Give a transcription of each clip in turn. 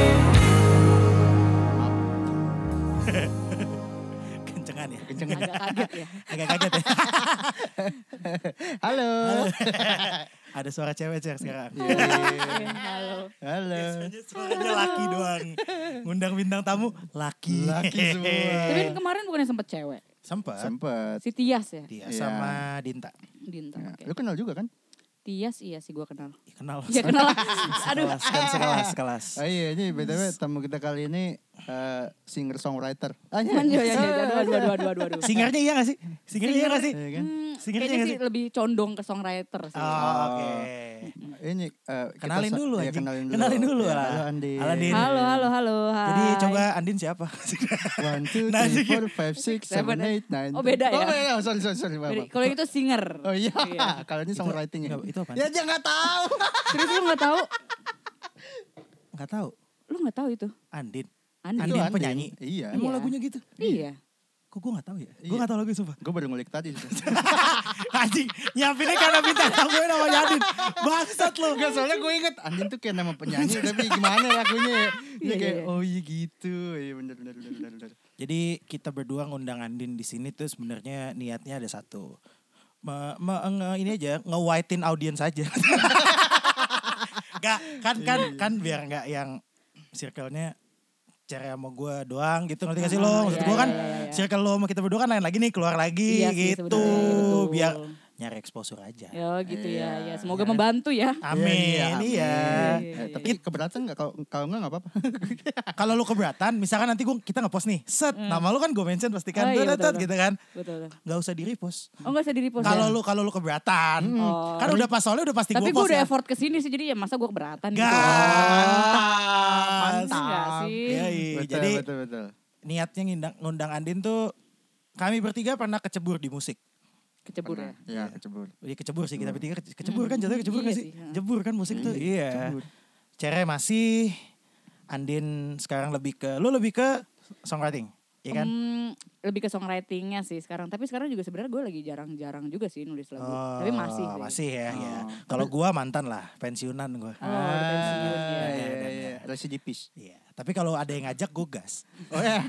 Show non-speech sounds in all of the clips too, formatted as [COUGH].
ya? [LAUGHS] ya. Halo. Ada suara cewek Cer sekarang. Iya. Halo. Halo. Biasanya suaranya laki doang. Ngundang bintang tamu laki. Laki semua. Tapi kan kemarin bukannya sempet cewek. Sempat. Sempet. Si Tias ya? Dia Iya. sama Dinta. Dinta. Ya, oke. Lu kenal juga kan? Tias iya sih gue [LAUGHS] kenal. Ih, kenal. Ya kenal lah. Aduh. Sekelas kan sekelas sekelas. Oh iya, ini BTW tamu kita kali ini eh, singer songwriter. Ah, Aduh, aduh, aduh, aduh, aduh, aduh, aduh, aduh. Singernya iya gak sih? Singernya iya gak sih? Iya kan? Hmm, Singernya kayaknya nggak sih lebih condong ke songwriter sih. Oh, Oke. Ini eh, kita Kenalin sa- dulu iya, anjing. kenalin dulu. Kenalin dulu Ya, lah. Halo Andi. Halo, Andin. Halo, halo, halo. Hai. Jadi coba Andin siapa? One, two, Nah, three, anjing. four, five, six, Seven, seven, eight, nine. Oh, beda ya? Oh iya, sorry, sorry, sorry. maaf, Jadi, maaf. Kalau yang itu singer. Oh iya, [LAUGHS] Iya. kalau ini songwriting ya. Nggak, itu apaan? Ya dia nggak tahu. Terus lu gak tahu? Gak tahu. Lu gak tahu itu? Andin. Andin. Andin. Itu penyanyi. Iya. Emang Iya. lagunya gitu? Iya. Kok gue gak tahu ya? Gue Iya. gak tahu lagunya sumpah. [LAUGHS] Gue baru ngulik tadi. Anjing, nyiapinnya karena bintang tamu yang namanya Adin. Bangsat lo. Enggak soalnya gue inget Andin tuh kayak nama penyanyi [LAUGHS] tapi gimana lagunya ya. Dia Iya, kayak iya. oh iya gitu. Iya bener bener bener bener. bener. Jadi kita berdua ngundang Andin di sini tuh sebenarnya niatnya ada satu. Me- me- nge- ini aja nge-whitein audiens aja. Gak, kan kan Iya, kan biar nggak yang circle-nya cara sama gue doang gitu ngerti gak sih Ah, lo maksud iya, gue kan iya, iya, iya. circle lo sama kita berdua kan lain lagi nih keluar lagi Iya sih, gitu sebenarnya, betul. biar nyari exposure aja Ya gitu ya. ya. Semoga Iya. membantu ya. Iya, amin iya, iya Iya, Eh, iya, tapi keberatan nggak kalau kalau nggak [LAUGHS] nggak apa-apa. kalau lu keberatan, misalkan nanti gua kita ngepost nih, set, nama lu kan gue mention pasti kan, Hmm. Oh, tet, iya, tet, betul, gitu kan, Betul. betul. nggak usah di repost. Oh gak usah di repost Kalau ya? lu kalau lu keberatan, Oh. kan udah pas soalnya udah pasti gue Tapi gue post udah ya. effort ke sini sih jadi ya masa gue keberatan gitu. Gas. Mantap, nggak sih? Yoi, betul, Iya, Jadi betul betul. Iya, niatnya ngundang, ngundang Andin tuh kami bertiga pernah kecebur di musik. Kecebur ya. Ya kecebur. Iya kecebur sih kita bertiga kece- kecebur kan jatuhnya kecebur Hmm. Iya nggak sih? sih, Hmm. ha. Jebur kan musik tuh. Iya. Cere masih Andin sekarang lebih ke lu lebih ke songwriting, ya kan? Hmm, lebih ke songwritingnya sih sekarang. Tapi sekarang juga sebenarnya gue lagi jarang-jarang juga sih nulis lagu. Oh, Hmm. Tapi masih sih. Masih ya, ya. Kalau gua mantan lah, pensiunan gua. Oh, udah pensiun ya. Iya iya, iya iya. Residivis. Iya, tapi kalau ada yang ngajak gua [LAUGHS] gas.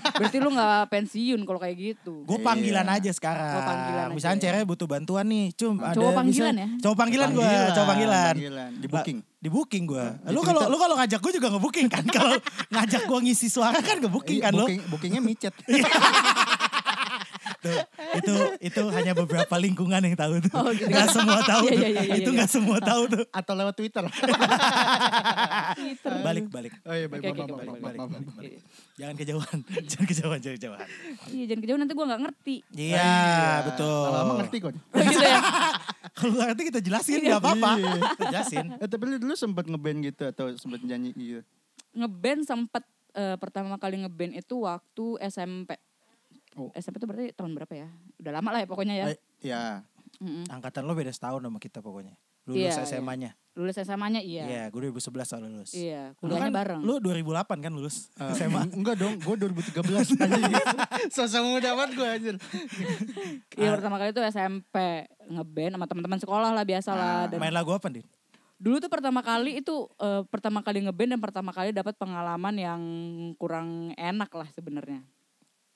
Berarti lu gak pensiun kalau kayak gitu. Gua panggilan aja sekarang. Oh, panggilan aja Misalnya ya. cewek butuh bantuan nih, cum ada Cowok bisa- panggilan ya? Cowok panggilan gua, cowok panggilan. Panggilan. Di booking. Lah, Di booking gua. Lu kalau lu kalau ngajak gua juga nge-booking [LAUGHS] kan. Kalau ngajak gua ngisi suara kan nge-booking Iya, kan Iya. lu. booking, bookingnya [LAUGHS] micet. Tuh, itu itu hanya beberapa lingkungan yang tahu tuh. Oh, gitu. Nggak semua tahu. Iya, tuh. iya, iya, iya, itu iya. nggak semua tahu [LAUGHS] tuh. Atau lewat [LAUGHS] Twitter. Twitter. Balik balik. Oh iya Oke, baik oke, baik oke, baik balik, balik, baik. baik. balik. Jangan [LAUGHS] kejauhan, [LAUGHS] jangan kejauhan, jangan kejauhan. Iya jangan kejauhan nanti gue gak ngerti. [LAUGHS] Iya, betul. Lama-lama ngerti kok. Oh, gitu ya. [LAUGHS] Iya. Kalau nggak ngerti kita jelasin, nggak apa-apa. Kita jelasin. Eh tapi lu dulu sempat ngeband gitu atau sempat nyanyi gitu? Ngeband sempet eh, pertama kali ngeband itu waktu SMP. Oh. SMP itu berarti tahun berapa ya? Udah lama lah ya pokoknya ya. Eh, Ya. Mm-mm. Angkatan lo beda setahun sama kita pokoknya. Lulus Iya, iya. SMA-nya. Lulus SMA-nya iya. Iya, gue 2011 soal lulus. Iya, Lu kuliahnya kan- bareng. Lu 2008 kan lulus Eh, SMA. [LAUGHS] Enggak dong, gue 2013 anjing. Sosok muda banget gue anjir. Iya ah. pertama kali itu SMP ngeband sama teman-teman sekolah lah biasa lah. [LAUGHS] Dan Main lagu apa, Din? dulu tuh pertama kali itu eh, pertama kali ngeband dan pertama kali dapat pengalaman yang kurang enak lah sebenarnya.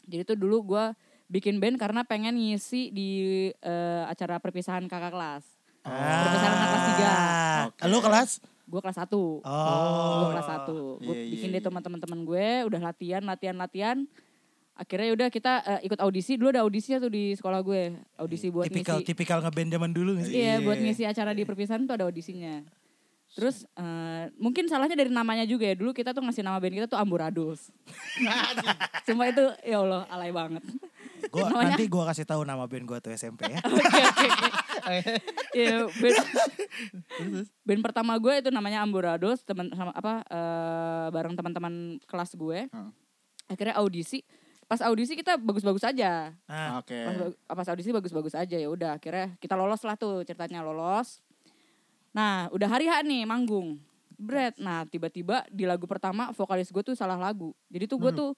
Jadi tuh dulu gue bikin band karena pengen ngisi di eh, acara perpisahan kakak kelas. Oh. Perpisahan anak kelas tiga. Oke. Ah, Lu kelas? Gue kelas 1. Oh. Gue kelas 1. Gue Iya, iya, bikin deh iya. sama teman-teman gue, udah latihan, latihan, latihan. Akhirnya udah kita eh, ikut audisi, dulu ada audisi tuh di sekolah gue. Iya. Audisi buat tipikal ngisi. tipikal ngeband zaman dulu nggak sih? Iya, buat ngisi acara di perpisahan tuh ada audisinya. Terus eh, mungkin salahnya dari namanya juga ya. Dulu kita tuh ngasih nama band kita tuh Amburados. Cuma itu ya Allah alay banget. [LAUGHS] Gua Namanya- nanti gua kasih tahu nama band gua tuh SMP [LAUGHS] ya. Oke oke. oke. Iya, band, band pertama gue itu namanya Amburados, teman sama apa eh, bareng teman-teman kelas gue. Heeh. Akhirnya audisi. Pas audisi kita bagus-bagus aja. Nah, Ah, Oke. pas, bag- pas audisi bagus-bagus aja ya udah akhirnya kita lolos lah tuh ceritanya lolos nah udah hari H nih manggung Bret nah tiba-tiba di lagu pertama vokalis gue tuh salah lagu jadi tuh Hmm. gue tuh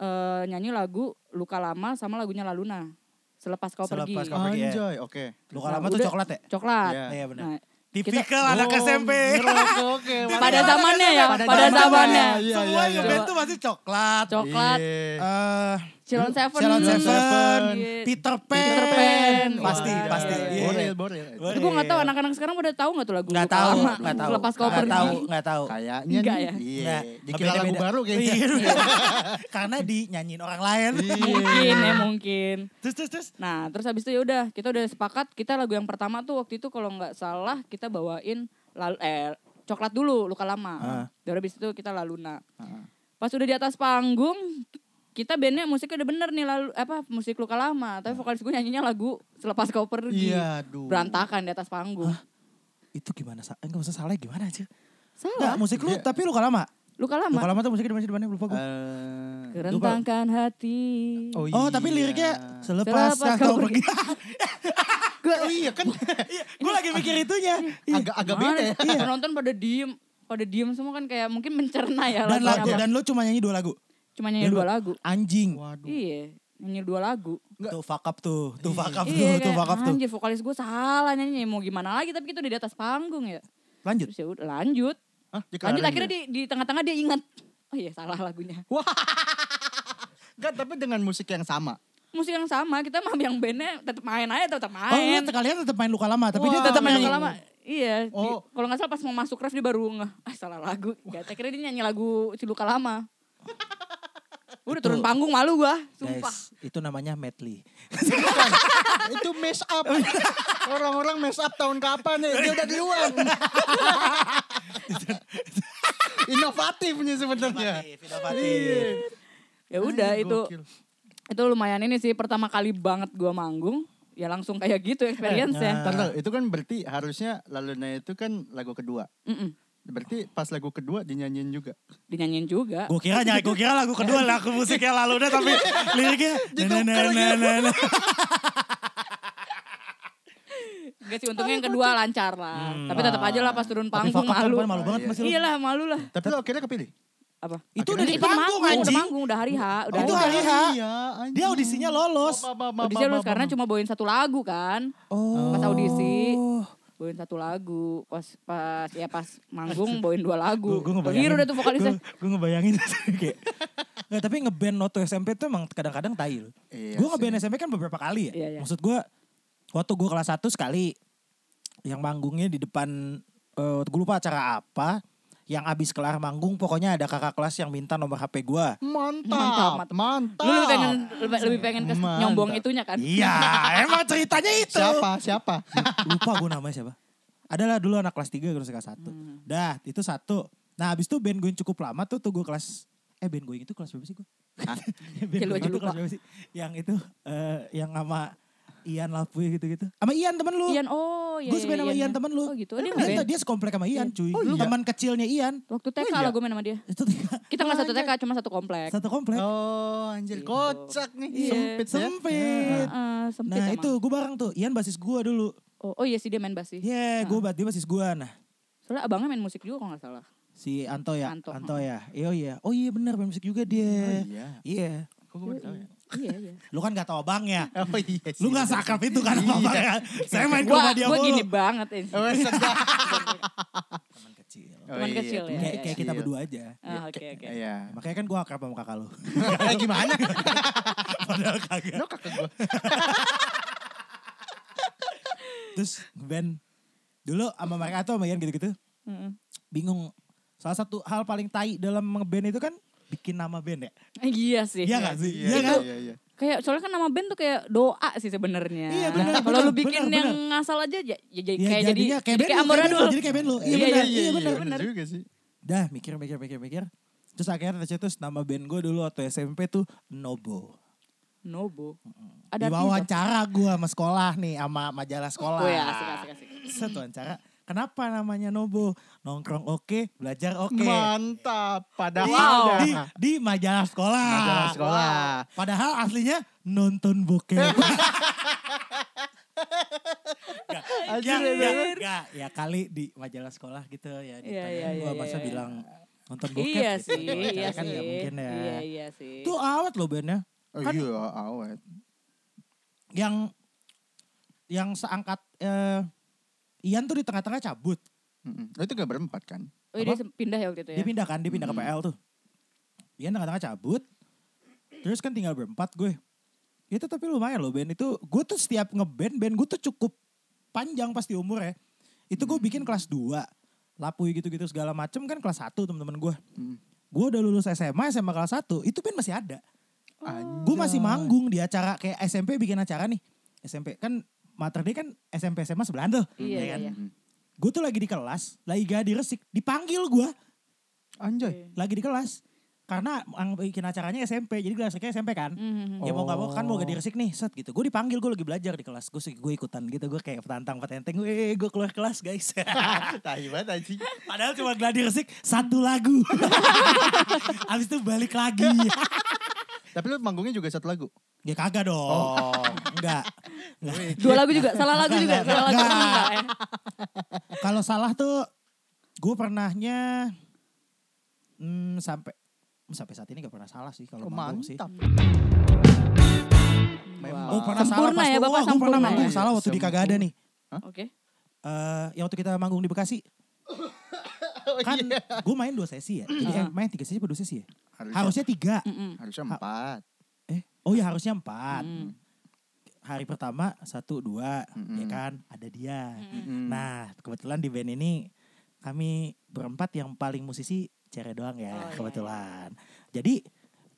eh, nyanyi lagu luka lama sama lagunya Laluna selepas kau Selepas pergi Kau Pergi ya. Anjay, oke. luka Nah, lama tuh udah- coklat ya? coklat Iya. Iya benar. Nah, Tipikal anak Oh, SMP. ngerokok, Oke. Tipikal pada anak zamannya ya, SMP. pada zamannya. Iya, Semua iya, iya. ngeband tuh masih coklat. coklat Iya. eh Ceylon Seven. Ceylon Ceylon Seven, Iya. Peter Pan. Peter Pan. Pasti, Wah, pasti. iya, Iya. Boril, boril. Tapi gue gak tau anak-anak sekarang pada tahu gak tuh lagu Nggak Luka tahu, Lama? nggak tahu. Lepas kau Nggak pergi. tahu, nggak tahu. Kayaknya Enggak nih, ya? Iya. Nggak. Dikira lagu Beda-beda. baru kayaknya. Iya. [LAUGHS] Karena dinyanyiin orang lain. Mungkin ya mungkin. terus, terus, terus. Nah terus habis itu ya udah kita udah sepakat kita lagu yang pertama tuh waktu itu kalau nggak salah kita bawain lalu eh coklat dulu luka Ah. lama. Dari habis itu kita laluna. Ah. Pas udah di atas panggung kita bandnya musiknya udah bener nih lalu apa musik luka lama tapi vokalis gue nyanyinya lagu selepas kau pergi Iya, aduh. berantakan di atas panggung Itu gimana? Sa- Enggak usah salah gimana aja. Enggak, salah musik lu tapi lu kalah lama. luka lama Lu kalah lama tuh musiknya di mana? di mana? Lupa gue. Eh, kerentangkan hati oh, oh, tapi iya. liriknya selepas, Selepas kau kau [LAUGHS] pergi. Oh iya kan gue lagi mikir [LAUGHS] itunya. Iya. agak agak Mana beda ya. sih? Penonton pada diem, pada diem semua kan kayak mungkin mencerna ya Dan lagu apa. dan lu cuma nyanyi dua lagu. Cuma nyanyi Iya, dua lu- lagu. Anjing. Waduh. Iya, nyanyi dua lagu. Tuh fuck up tuh. Tuh fuck up tuh. Iya, Tuh fuck up kayak, tuh. anjir vokalis gue salah nyanyi mau gimana lagi tapi kita udah di atas panggung ya. Lanjut. Terus ya udah lanjut. Hah, Lanjut dikelarin akhirnya ya? di di tengah-tengah dia ingat. Oh iya salah lagunya. Enggak, tapi dengan musik yang sama. Musik yang sama, kita mah yang bandnya tetap main aja tetap Oh, lu main. kalian tetap main luka lama, tapi Wah, dia tetap main main. luka lama. Iya, di- Oh. kalau nggak salah pas mau masuk ref dia baru ngeh, ah salah lagu. Ya, akhirnya dia nyanyi lagu si luka [LAUGHS] lama. Udah turun panggung malu gua, sumpah. Guys, itu namanya medley. Bukan. itu mess up. Orang-orang mess up tahun kapan nih? Dia udah duluan. Inovatif nih sebenarnya. Inovatif. Ya udah Anjing, itu gokil. itu lumayan ini sih pertama kali banget gua manggung, ya langsung kayak gitu experience-nya. Eh, Ntar, nah. ntar, itu kan berarti harusnya Laluna itu kan lagu kedua. Mm-mm. Berarti pas lagu kedua dinyanyiin juga. Dinyanyiin juga. Gue kira nyari, gue kira lagu kedua lagu musiknya lalu deh tapi liriknya nah, na na na na na. Enggak sih untungnya yang kedua lancar lah. Hmm. Tapi tetap aja lah pas turun Tapi panggung fuck up kan, malu. malu banget masih lu. Iya lah malu lah. Tapi lo akhirnya kepilih. Apa? Itu udah di Itu panggung udah anjing. manggung, udah hari H, udah Itu hari hari H. H. Iya, anjing. Dia audisinya lolos. Oh, Ma- ma- ma- ma- audisi ma- lulus ma- karena cuma bawain satu lagu kan Oh. pas audisi bawain satu lagu pas pas ya pas manggung bawain dua Gue lagu keliru ngebayangin. udah tuh vokalisnya Gue ngebayangin [LAUGHS] kayak. Nggak, tapi ngeband waktu SMP tuh emang kadang-kadang tai loh. Iya gue ngeband SMP kan beberapa kali ya. Iya, iya. Maksud gue waktu gue kelas 1 sekali yang manggungnya di depan eh gue lupa acara apa yang abis kelar manggung pokoknya ada kakak kelas yang minta nomor HP gue. Mantap, Mantap. mantap. lu lebih pengen lebih, lebih pengen kes- Mantap. nyombong itunya kan Iya, emang ceritanya itu. Siapa? Siapa? Lupa gue namanya siapa. Adalah dulu anak kelas 3 terus kelas 1. Hmm. Dah, itu satu. Nah, habis itu band gue yang cukup lama tuh tuh gue kelas eh band gue itu kelas berapa sih gue? [LAUGHS] band Ya, lu gue aja itu lupa. kelas berapa sih? Yang itu eh yang sama Ian Lapuy gitu-gitu. Sama Ian iya, temen lu. Ian oh ya gue sebenarnya sama Ian temen lu. oh gitu oh, dia Oh, Ternyata ngeband dia sekomplek sama Ian cuy. iya. Teman kecilnya Ian. waktu TK lah gue main sama dia Itu tiga- kita nggak satu TK cuma satu komplek iya. Oh, satu komplek. Oh, anjir. Kocak nih. Iya. Sempit ya. Sempit. Heeh, sempit Nah emang. itu gue bareng tuh. Ian basis gue dulu. oh, oh iya sih dia main bass sih Yeah, gue bat dia basis gue. Nah soalnya abangnya main musik juga kalau nggak salah si Anto ya. Anto, Anto, ya. Iya iya. Oh iya benar main musik juga dia. Oh, iya. Iya. Kok gue baru tahu ya? iya iya Lu kan gak tau abangnya. Oh iya sih. Lu gak sakap itu kan sama abangnya. Saya main ke gue rumah dia gue mulu. gini banget [LAUGHS] ini Iya. Oh, sedap. Teman kecil. Oh, Teman iya, kecil ya. teman Kayak, kayak kita kecil. berdua aja. Ah, oke oke Iya. Makanya kan gue akrab sama kakak lu. Eh, gimana? [LAUGHS] Padahal kagak. Lo kakak gue. Terus band. Dulu sama mereka atau sama Ian gitu-gitu. Heeh. Bingung. Salah satu hal paling tai dalam ngeband itu kan bikin nama band ya. Iya sih. Iya gak sih? Iya, Iya iya, kan? iya, iya. Kayak soalnya kan nama band tuh kayak doa sih sebenarnya. Nah, Iya, benar, Kalau benar, lu bikin benar, yang ngasal aja ya, ya jadi Ya, kayak jadi jadinya kayak jadi band lu, kayak kayak band lu, amburadul. jadi kayak band lu. Iya, Iya, benar, iya, iya, benar. bener juga sih. Dah mikir mikir mikir mikir. Terus akhirnya tercetus nama band gue dulu waktu SMP tuh Nobo. Nobo. Di Ada artinya. wawancara gue sama sekolah nih sama majalah sekolah. Oh ya, asik asik asik. Set wawancara. Kenapa namanya Nobo? Nongkrong oke, belajar oke. Mantap. Di, Padahal di, di majalah Nah, sekolah. Majalah sekolah. Padahal aslinya nonton [LAUGHS] bokep. Gak, ya, Anjir, ya, anjir. gak. ya kali di majalah sekolah gitu ya. Iya, Ditanya iya, gua iya, masa iya. bilang nonton bokep. Iya gitu. sih, iya Wawancara kan sih. nggak mungkin ya. Iya, iya sih. Itu awet loh bandnya. Oh, iya, awet. Yang yang seangkat eh, Ian tuh di tengah-tengah cabut. Mm-mm. Lo itu gak berempat kan? Oh, dia apa? sem- pindah ya waktu itu ya. Dia pindah kan, dia pindah ke PL tuh. Ian tengah-tengah cabut. Terus kan tinggal berempat gue. Itu tapi lumayan loh band itu. Gue tuh setiap ngeband, band gue tuh cukup panjang pasti umur ya. Itu gue bikin kelas 2. Lapui gitu-gitu segala macem kan kelas 1 teman-teman gue. Gue udah lulus SMA, SMA kelas 1. Itu band masih ada. Oh, Ya. Gue masih manggung di acara kayak SMP bikin acara nih. SMP kan Mater Day kan SMP SMA sebelahan tuh. Iya, ya iya, kan? iya. Gue tuh lagi di kelas, lagi gak di Resik, dipanggil gue Anjay. [LAUGHS] lagi di kelas karena yang bikin acaranya SMP jadi kelasnya SMP kan Mhm. ya mau gak mau kan mau gak Oh. diresik nih set gitu gue dipanggil gue lagi belajar di kelas gue gue ikutan gitu gue kayak petantang petenteng gue gue keluar kelas guys [LAUGHS] Tai banget anjing. padahal cuma gladi resik satu lagu [LAUGHS] abis itu balik lagi Tapi lu manggungnya juga satu lagu. ya kagak dong enggak Dua lagu juga, salah lagu juga, salah lagu Enggak. juga. ya. kalau salah tuh gue pernahnya hmm, sampai sampai saat ini gak pernah salah sih kalau Oh, manggung sih mantap. Memang. Oh [LAUGHS] pernah salah Sempurna pas ya, gua- Bapak, wah, gua pernah sempurna manggung ya. salah waktu di Kagada nih. Oke. Eh, ya waktu kita manggung di Bekasi. Oh, Kan iya. gue main dua sesi ya. Jadi eh, main tiga sesi apa dua sesi ya? Harusnya tiga. Mm-mm. harusnya empat. Eh, oh ya harusnya empat. Mm. Hari pertama satu dua, ya Mm-mm. kan? Ada dia. Hmm. Mm-mm. Nah kebetulan di band ini kami berempat yang paling musisi Cere doang ya Oh, iya, kebetulan. Jadi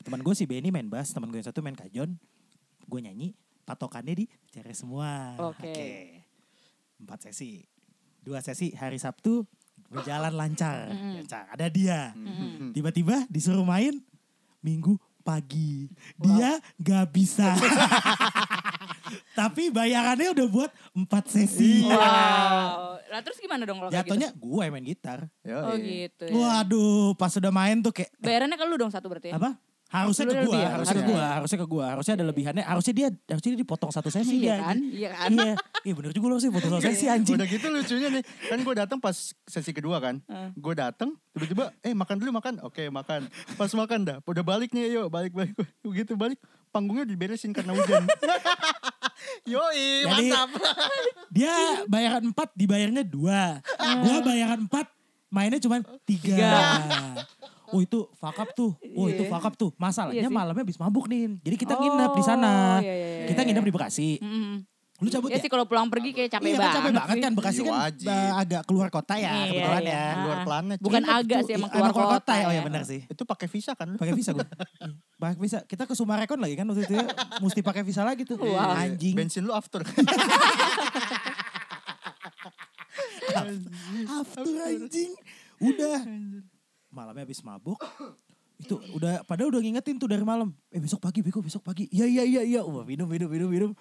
teman gue si Benny main bass, teman gue yang satu main kajon, gue nyanyi, patokannya di Cere semua. Oke. Empat sesi, dua sesi hari Sabtu berjalan lancar, Mm. lancar. Ada dia, Hmm. Mm-mm. tiba-tiba disuruh main Minggu pagi, dia gak [LAUGHS] bisa. Tapi bayarannya udah buat empat sesi. Iya. Wow. Nah terus gimana dong kalau kayak gitu? Iya. Jatuhnya iya, gue yang main gitar. Yoi. Oh Iya. gitu. Ya. Waduh, pas udah main tuh kayak Bayarannya ke lu dong satu berarti. ya? apa? Harusnya Lu ke udah gue, lebih ya? harusnya ke Harusnya. gue, harusnya ke gue, harusnya ada lebihannya, harusnya dia, harusnya dia dipotong satu sesi Iya dia. kan? Iya kan? Iya. Iya, iya bener juga lo sih potong satu sesi anjing. Udah gitu lucunya nih. Kan gue datang pas sesi kedua kan. Gue datang tiba-tiba eh makan dulu makan. Oke makan. Pas makan dah. Udah balik nih yuk balik balik. Begitu balik panggungnya diberesin [LAUGHS] karena hujan. Yoi Jadi- mantap. Dia bayaran empat, dibayarnya dua. Gue bayaran empat, mainnya cuma tiga. Oh itu fakap tuh, oh itu Iya. fakap tuh. Masalahnya Iya sih. malamnya habis mabuk nih. Jadi kita Oh, nginep di sana. iya, iya, iya, Kita iya. nginep di Bekasi. Mm-mm. Lu cabut Ya ya? sih kalau pulang pergi kayak capek Iya kan banget. capek banget sih. kan Bekasi Iya, kan wajib. eh, agak keluar kota ya Iya, kebetulan iya. ya. Ah. Luar planet. cuy. Bukan agak Tuh, sih emang iya, keluar kota, ya. Oh ya. ya benar sih. [LAUGHS] Itu pakai visa kan lu? Pakai visa gue. Pakai visa. Kita ke Sumarekon lagi kan waktu itu ya. Mesti pakai visa lagi tuh. Wow. Anjing. Bensin lu after. After anjing. Udah. Malamnya habis mabuk. Itu udah padahal udah ngingetin tuh dari malam. Eh besok pagi Beko besok pagi. Iya iya iya iya. Wah minum minum minum minum.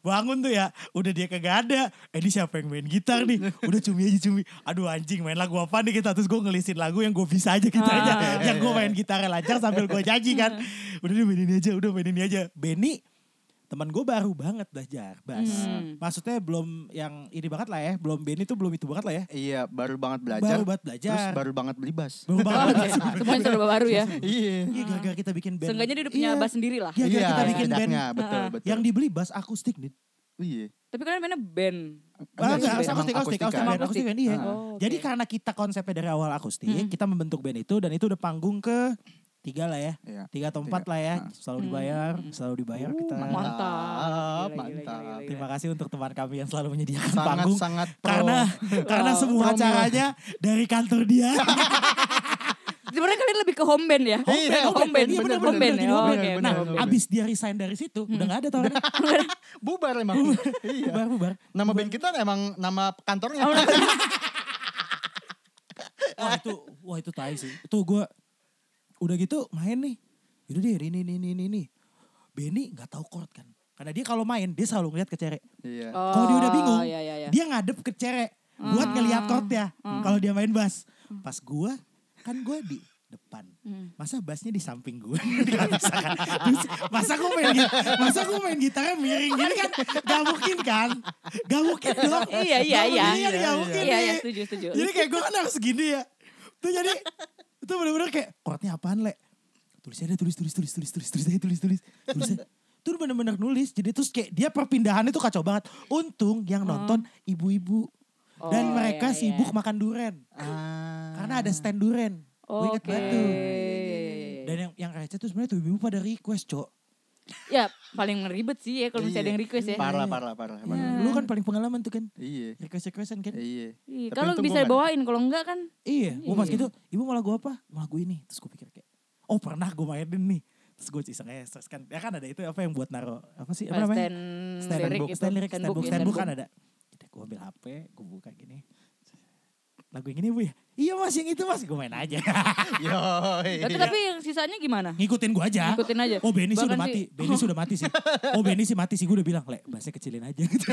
Bangun tuh ya, udah dia kagak ada. Eh ini siapa yang main gitar nih? Udah cumi aja cumi. Aduh anjing main lagu apa nih kita? Terus gue ngelisin lagu yang gue bisa aja gitarnya. yang gue main gitarnya lancar sambil gue nyanyi kan. Udah deh main ini aja, udah main ini aja. Benny teman gue baru banget belajar bass. Hmm. Maksudnya belum yang ini banget lah ya, belum Benny tuh belum itu banget lah ya. [LAUGHS] iya baru banget belajar. Baru banget belajar. Terus baru banget beli bas. Baru banget Oke, belajar. [LAUGHS] Semuanya serba baru ya. Iya. Iya gara-gara kita bikin band. Seenggaknya dia udah punya Iya. bass sendiri lah. Iya, gara-gara kita bikin band setidaknya, Betul, betul. yang dibeli bass akustik nih. Iya. Tapi kalian mainnya band. Ah, Enggak sih, enggak, harus emang akustik, akustik, akustik, akustikan. band, akustik, band, iya. Oh, oke. Jadi karena kita konsepnya dari awal akustik, Hmm. kita membentuk band itu dan itu udah panggung ke tiga lah ya, Iya. tiga atau empat Tiga. lah ya, Ah. Hmm. selalu dibayar, selalu dibayar kita. mantap. Mantap. Gila, gila, mantap. gila, gila. Terima kasih untuk teman kami yang selalu menyediakan Sangat, panggung. sangat pro. karena karena Pro, semua pro acaranya dari kantor dia. Sebenarnya kalian lebih ke home band ya? Home band, home band. Iya, Eh, bener, bener, jadi home band ya. home Oh, band. Oke, bener, Nah, bener, bener. abis dia resign dari situ, udah gak ada tawaran. Bubar emang. [LAUGHS] [LAUGHS] iya. bubar, bubar. Nama band kita emang nama kantornya. Oh, [LAUGHS] Wah itu, wah itu tai sih. Itu gue udah gitu main nih. Yaudah deh, ini, ini, ini, ini, ini. Benny gak tahu chord kan. Karena dia kalau main, dia selalu ngeliat ke cere. iya. oh. Kalau dia udah bingung, Iya, iya, Hmm. iya. dia ngadep ke cere. Buat ngeliat chordnya. Kalau dia main bass. Pas gue, kan gue di depan. Hmm. Masa bassnya di samping gue? [LAUGHS] Gak bisa kan? Terus, masa gue main, git- masa gue main gitarnya miring gini kan? Gak mungkin kan? Gak mungkin dong. Iya, iya, Gak iya. mungkin kan? Gak mungkin Iya, iya, nih. setuju, setuju. Jadi kayak gue kan harus gini ya. Tuh jadi itu bener-bener kayak chordnya apaan le? Tulisnya ada tulis tulis tulis tulis tulis tulis tulis tulis tulis. Itu bener-bener nulis. Jadi terus kayak dia perpindahannya tuh kacau banget. Untung yang nonton ibu-ibu dan Hmm. Oh, mereka iya, iya. sibuk makan duren Ah. karena ada stand duren. Gue inget Oke. banget tuh. Dan Dan yang yang receh tuh sebenarnya tuh ibu pada request, Cok. Ya paling ngeribet sih ya kalau misalnya ada yang request ya. Iya, Parah, parah, parah. emang. Iya. Lu kan paling pengalaman tuh kan. Iya. Request-requestan kan. Iya. Ih, Tapi Kalau untung bisa gua nggak- bawain, kalau enggak kan Iya, gue pas Iya. gitu, ibu malah gue apa? Malah gue ini. Terus gue pikir kayak, oh pernah gue mainin nih. Terus gue iseng aja stres kan. Ya kan ada itu apa yang buat naro, apa sih? Apa namanya? stand, Stand lirik book, gitu. stand lirik, stand book, ya, stand book book. kan ada. Jadi gue ambil HP, gue buka gini. Lagu yang ini bu ya? Iya mas, yang itu mas. Gue main aja. [LAUGHS] Yoi. Tapi, tapi yang sisanya gimana? Ngikutin gue aja. Ngikutin aja. Oh Benny sih Bahkan udah mati. Benny sih udah mati [LAUGHS] sih. Oh Benny sih mati sih. Gue udah bilang, Lek, bassnya kecilin aja. [LAUGHS]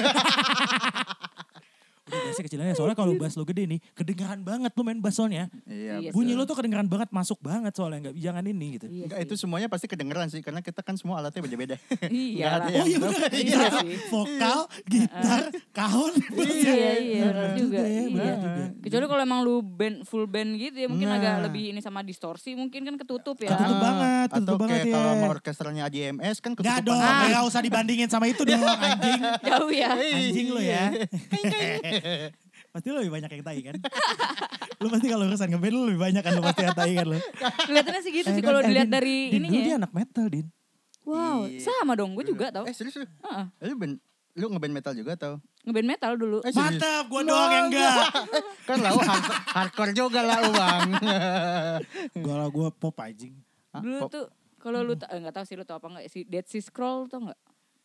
udah bassnya kecilin aja. Soalnya kalau bass lo gede nih, kedengeran banget lo main bass soalnya. Iya. Iya. betul. Bunyi lo tuh kedengeran banget, masuk banget soalnya nggak jangan ini gitu. Iya Enggak, sih. itu semuanya pasti kedengeran sih karena kita kan semua alatnya beda-beda. [LAUGHS] Iya Nggak ada lah. yang- Oh iya benar, Iya iya. sih. Vokal, gitar, kahon. Iya, iya, iya, Bener benar juga. ya, Iya. bener juga. Kecuali kalau emang lu band full band gitu ya mungkin Nah. agak lebih ini sama distorsi mungkin kan ketutup ya. Ketutup Iya, banget, Ah, Atau ketutup banget kayak ya. kalau sama orkestranya ADMS kan Gak ketutupan dong, Ah. sama- Iya. gak usah dibandingin sama itu [LAUGHS] dong anjing. Jauh ya. Anjing lo ya. [LAUGHS] pasti lo lebih banyak yang tai kan? lo pasti kalau urusan ngeband lo lebih banyak kan lo pasti yang tai kan lo. Kelihatannya sih gitu Eh, sih kan, kalau eh, dilihat Din, dari Din, dulu dia ininya. ya. anak metal, Din. Wow, Iya. sama dong gue juga tau. Eh serius lu? Heeh. Lu band lu ngeband metal juga atau? Ngeband metal dulu. Eh, serius? Mantap, gue doang yang enggak. Kan lau hard- hardcore juga lau bang. Gue lah gue pop anjing. Ah, Dulu pop. tuh kalau lu ta- eh, nggak tahu sih lu tau apa nggak si Dead Sea Scroll tau nggak?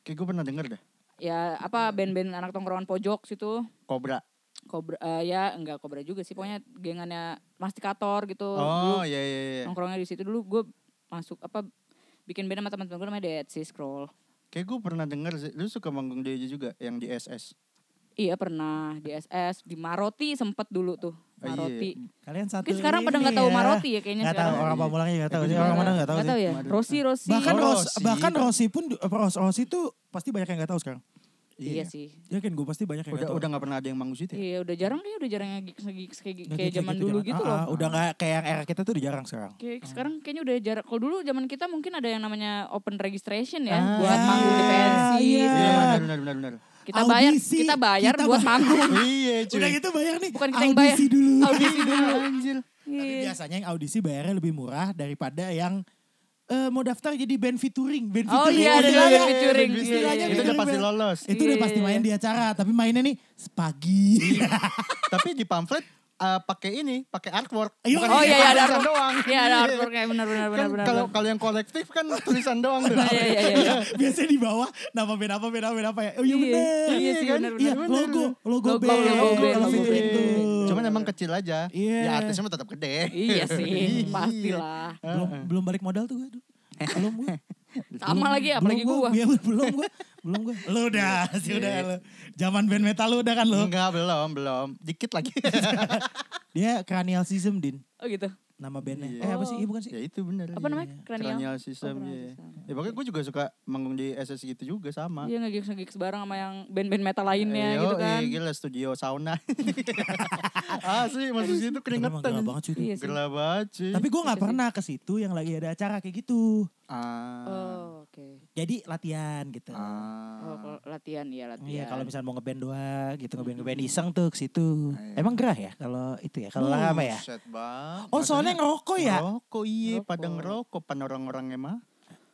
Kayak gue pernah denger dah. Ya apa band-band anak tongkrongan pojok situ. Cobra. Kobra eh, ya enggak kobra juga sih pokoknya gengannya Mastikator gitu. Oh dulu iya iya iya. nongkrongnya di situ dulu gue masuk apa bikin band sama teman-teman gue namanya Dead Sea Scroll. Kayak gue pernah denger sih. Lu suka manggung dia juga yang di SS. Iya pernah di SS di Maroti sempet dulu tuh Oh, iya. Maroti. Kalian satu Mungkin sekarang pada nggak tahu Maroti ya kayaknya Gak tahu sekarang. orang Pamulangnya gak tahu sih. Nggak Orang mana gak tahu gitu. Nggak sih. ya. Maroti. Rosi Rosi. Bahkan Iya. Ros, Rossi. bahkan Rossi pun Ros, Rossi tuh pasti banyak yang gak tahu sekarang. iya sih. Ya kan gue pasti banyak yang Udah nggak tahu. udah nggak pernah ada yang manggung situ. ya? Iya udah jarang kayaknya udah jarang yang gigs gigs kayak Nggak kayak gitu, zaman gitu, dulu jangan. gitu Ah, ah, loh. Udah gak kayak yang era kita tuh udah jarang sekarang. Kayak sekarang kayaknya udah jarang. Kalau dulu zaman kita mungkin ada yang namanya open registration ya Ah, buat manggung di iya, iya. pensi. Iya segala macam. benar benar benar benar. Kita bayar Audisi, kita bayar kita buat bayar. manggung. [LAUGHS] Iya cuy. Udah gitu bayar nih. Bukan kita yang bayar. audisi dulu. Audisi dulu. Iya, Anjir. [LAUGHS] Tapi Iya. biasanya yang audisi bayarnya lebih murah daripada yang eh, mau daftar jadi band featuring, band Oh, featuring. iya, ada istilahnya. lagi featuring. Istilahnya Itu udah featuring pasti band. lolos. Itu udah Iya, pasti iya, main di acara, tapi mainnya nih pagi. Tapi di pamflet eh, pakai ini, pakai artwork. Iya. Bukan Oh iya iya ada tulisan artwork. doang. Iya ada artworknya benar benar benar Kan benar. kalau benar. kalau yang kolektif [LAUGHS] kan tulisan doang tuh. Iya iya iya, iya. [LAUGHS] Biasanya di bawah nama band apa, band apa, band apa ya. Oh iya Iya, bener. iya sih, kan? bener, Iya, bener, logo, logo Logo, band. logo band, Kalau logo featuring band. tuh. Cuman emang kecil aja. Iya. Ya artisnya mah tetap gede. Eh, Iya [LAUGHS] sih, pastilah. belum, belum balik modal tuh gue. aduh. Belum gue. eh, [LAUGHS] Sama lagi apalagi belum gua. Iya, Iya, belum gue. Belum gue. Lu udah, sih udah. lu. Zaman band metal lu udah kan lu. Enggak, belum, belum. Dikit lagi. [LAUGHS] Dia cranial sism, Din. Oh gitu. Nama bandnya. Iya. Eh apa sih? Iya bukan sih. ya itu bener. Apa namanya? Kranial. Cranial system. Oh, cranial iya. system. Ya pokoknya gue juga suka manggung di SS gitu juga Ah. sama. Iya ngegigs ngegigs bareng sama yang band-band metal lainnya Eh, gitu yoi, kan. gila studio sauna. [LAUGHS] Asli, masuk situ Tapi emang gerah keringetan. banget sih itu. Iya sih. Gerah banget sih. Tapi gue gak pernah ke situ yang lagi ada acara kayak gitu. Ah. Oh, oke. Jadi latihan gitu. Oh, Ah. kalau latihan iya latihan. Iya kalau misalnya mau ngeband doang gitu ngeband ngeband iseng tuh ke situ. Iya. Emang gerah ya kalau itu ya kalau lama ya. Buset banget. Oh soalnya ngerokok ya. Ngerokok iya, Ngerokok. pada ngerokok pan orang-orangnya mah.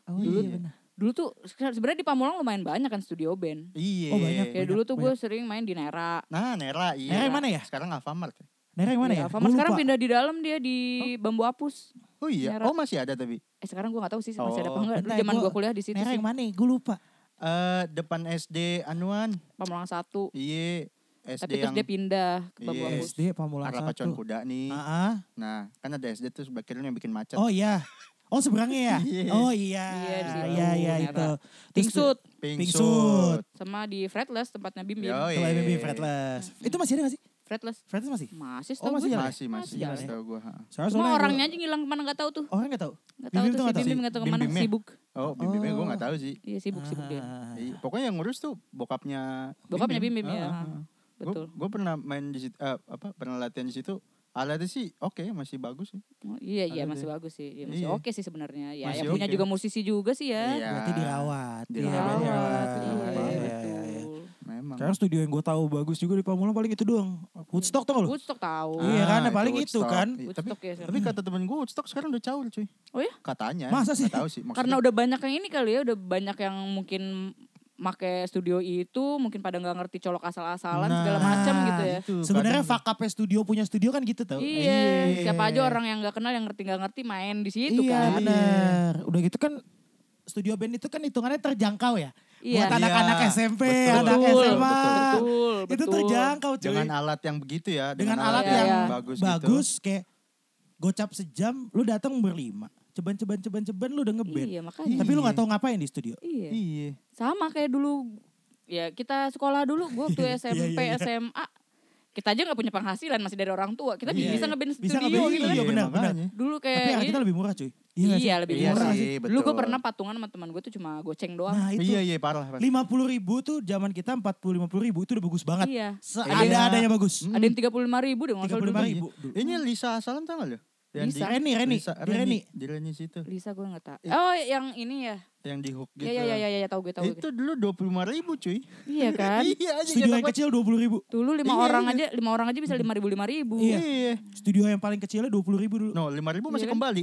Oh Dulu- iya benar. Dulu tuh se- sebenarnya di Pamulang lumayan banyak kan studio band. Iya. Oh, banyak. Kayak dulu tuh gue sering main di Nera. Nah, Nera iya. Nera yang mana ya? Sekarang Alfamart. ya? Nera yang mana ya? Gua Alfamart Iya, sekarang lupa. pindah di dalam dia di Bambu Apus. Oh iya, Nera. oh masih ada tapi. Eh sekarang gue gak tahu sih masih ada apa Oh. enggak. Di Nah, zaman gua- gue kuliah di situ Nera sih. yang mana? Gue lupa. Eh depan SD Anuan. Pamulang 1. Iya, SD Tapi terus yang dia pindah ke Bambu Iya. Apus. SD Pamulang arah pacuan satu. kuda nih. Ah, ah. Nah, kan ada SD tuh sebelah kiri yang bikin macet. Oh iya. Oh seberangnya ya? Iya. Oh iya. Iya, di situ. Iya iya Nera. itu. Terus- Tingsut Pink Pink suit. sama di Fretless tempatnya Bim Bim. Yoi. Tempat BB fretless. Itu masih ada gak sih? Fretless Fretless masih? masih Oh, setahu masih gue. jalan ya? Masih, masih. jalan Masih ya. tahu gua. ha. Soalnya Cuma soalnya gua- orangnya aja ngilang kemana gak tahu tuh. Orang gak tahu. Gak tahu Bim Bim tuh tuh nggak si tahu Bim Bim sih. gak tahu Bim kemana Bimnya. sibuk. Oh, bim bimnya gua enggak tahu sih. Iya sibuk sibuk dia. Ah. Iya, pokoknya yang ngurus tuh bokapnya. Ah, Bokapnya Bim Bim ya. Betul. Gue pernah main di situ, eh, apa pernah latihan di situ. Alatnya sih oke, masih bagus sih. Oh, iya iya Ada masih deh. bagus sih. Iya, masih Iya. oke sih sebenarnya. Ya Masih yang punya oke. juga musisi juga sih ya. Iya. Berarti dirawat. Dirawat, Iya, dirawat. benar. Iya, Iya, iya, iya. betul. Memang Karena studio yang gue tahu bagus juga di Pamulang paling itu doang. Woodstock tau gak lu? Woodstock tahu. Iya Ah, kan, itu paling itu Woodstock. kan. Iya, Tapi Woodstock ya sekarang. tapi kata temen gue Woodstock sekarang udah caur cuy. Oh ya? Katanya. Masa sih? Nggak tahu sih. Karena udah banyak yang ini kali ya, udah banyak yang mungkin make studio itu, mungkin pada nggak ngerti colok asal-asalan Nah, segala macam gitu ya. Nah, Sebenarnya fakapnya studio punya studio kan gitu tau. Iya, siapa aja orang yang nggak kenal yang ngerti nggak ngerti main di situ iya kan. benar. Udah gitu kan studio band itu kan hitungannya terjangkau ya. Iya. Buat anak-anak Iya, SMP, betul. anak Betul, SMA. betul, Itu betul. terjangkau cuy. Dengan alat yang begitu ya. dengan alat yang Iya, iya. bagus, bagus, gitu. kayak gocap sejam lu datang berlima ceban ceban ceban ceban lu udah ngeband Iya, makanya. tapi lu nggak tahu ngapain di studio Iya. Iya. Sama kayak dulu ya kita sekolah dulu gua waktu SMP, iya, iya. SMA. Kita aja nggak punya penghasilan masih dari orang tua. Kita Iya, iya. bisa ngeband Bisa studio ngeband gitu. studio. kan. Iya, benar, benar. makanya. Dulu tapi kayak harga kita lebih murah cuy Iya, nggak sih? lebih Iya murah sih, sih. Dulu gue betul. pernah patungan sama teman gue tuh cuma goceng doang. nah itu Iya iya parah. parah. lima puluh ribu tuh zaman kita empat puluh lima puluh ribu itu udah bagus banget Iya. seada adanya bagus Hmm. Ada yang tiga puluh lima ribu deh Hmm. tiga nggak salah puluh dulu. lima ribu Iya. Ini Lisa Salam tau gak lu? Yang Lisa. di- Reni, Reni. Lisa- Di Reni. Di Reni situ. Lisa gue nggak tahu. Iya. Oh yang ini ya. Yang di hook gitu. Iya iya iya iya tahu gue tahu. gue. Itu dulu 25 ribu cuy. Iya [LAUGHS] kan. [LAUGHS] iya aja. studio nggak yang dapat. kecil dua puluh ribu Dulu lima Iya, orang iya. aja lima orang aja bisa lima ribu lima ribu. Iya. Iya. studio yang paling kecilnya dua puluh ribu dulu No, 5 ribu masih Iya kan? [LAUGHS] kembali.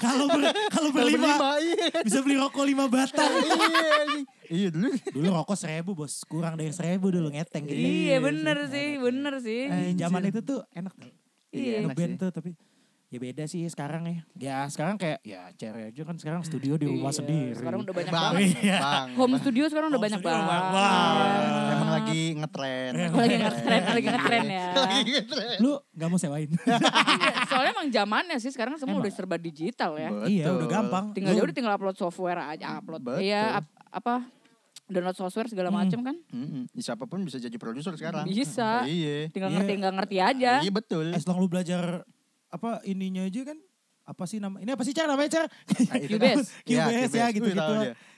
kalau ber- kalau berlima Iya. bisa beli rokok lima batang Iya, anjing. Iya dulu. dulu rokok seribu bos kurang dari seribu dulu ngeteng gitu Iya bener sih Eh, bener sih. Di zaman itu tuh enak tuh. Iya, Iya. enak Ngeband sih. tuh tapi ya beda sih sekarang ya. Ya sekarang kayak ya cewek aja kan sekarang studio di rumah Iya, sendiri. Sekarang udah banyak Bang, banget. Iya. bang. Home studio sekarang udah Home banyak studio banget. banyak banget. Iya, Emang lagi ngetren. Iya, Iya. Aku lagi ngetren, lagi ngetren ya. Lagi ngetren. Lu gak mau sewain. [LAUGHS] Iya, Soalnya emang zamannya sih sekarang semua Emang. udah serba digital ya. iya Betul. udah gampang. tinggal Lu- ya udah tinggal upload software aja upload Betul. iya ap- apa download software segala macem kan Mm-mm. Siapapun bisa jadi produser sekarang. Bisa. Iya. tinggal Iya. ngerti nggak ngerti aja Iya betul. As long lu belajar apa ininya aja kan. Apa sih nama? Ini apa sih cara namanya [LAUGHS] cara? Ah, Cubase. Iya, QBS ya gitu gitu.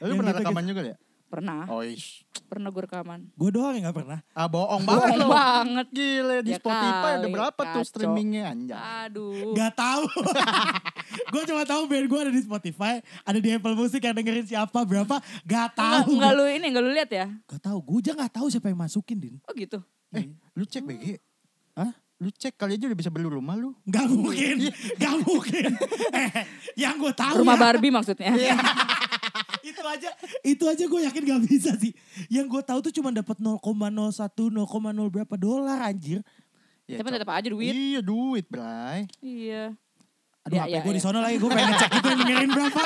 Lu pernah rekaman juga ya? pernah Oh ish. pernah gue rekaman Gue doang yang gak pernah. Ah bohong banget bohong lu. banget Gile Ya di Spotify ada kali, berapa tuh kacau. Ah. streamingnya anjay. aduh Gak tahu. [LAUGHS] gue cuma tahu band gue ada di Spotify, ada di Apple Music yang dengerin siapa berapa, gak nggak tahu. nggak lu ini nggak lu lihat ya Gak tahu, gue aja gak tahu siapa yang masukin din. oh gitu Eh, lu cek BG. Hah? Lu cek kali aja udah bisa beli rumah lu. [LAUGHS] Gak mungkin, gak mungkin. Eh, yang gue Iya. tahu Iya. rumah ya, Barbie maksudnya [LAUGHS] itu aja, itu aja gue yakin gak bisa sih. Yang gue tahu tuh cuma dapat 0,01, 0,0 berapa dolar anjir. Ya, tapi cok. tetap aja duit Iya duit, Bray. iya Aduh, Ya, HP ya, gue ya. di sono lagi, gue pengen ngecek itu yang dengerin [LAUGHS] berapa.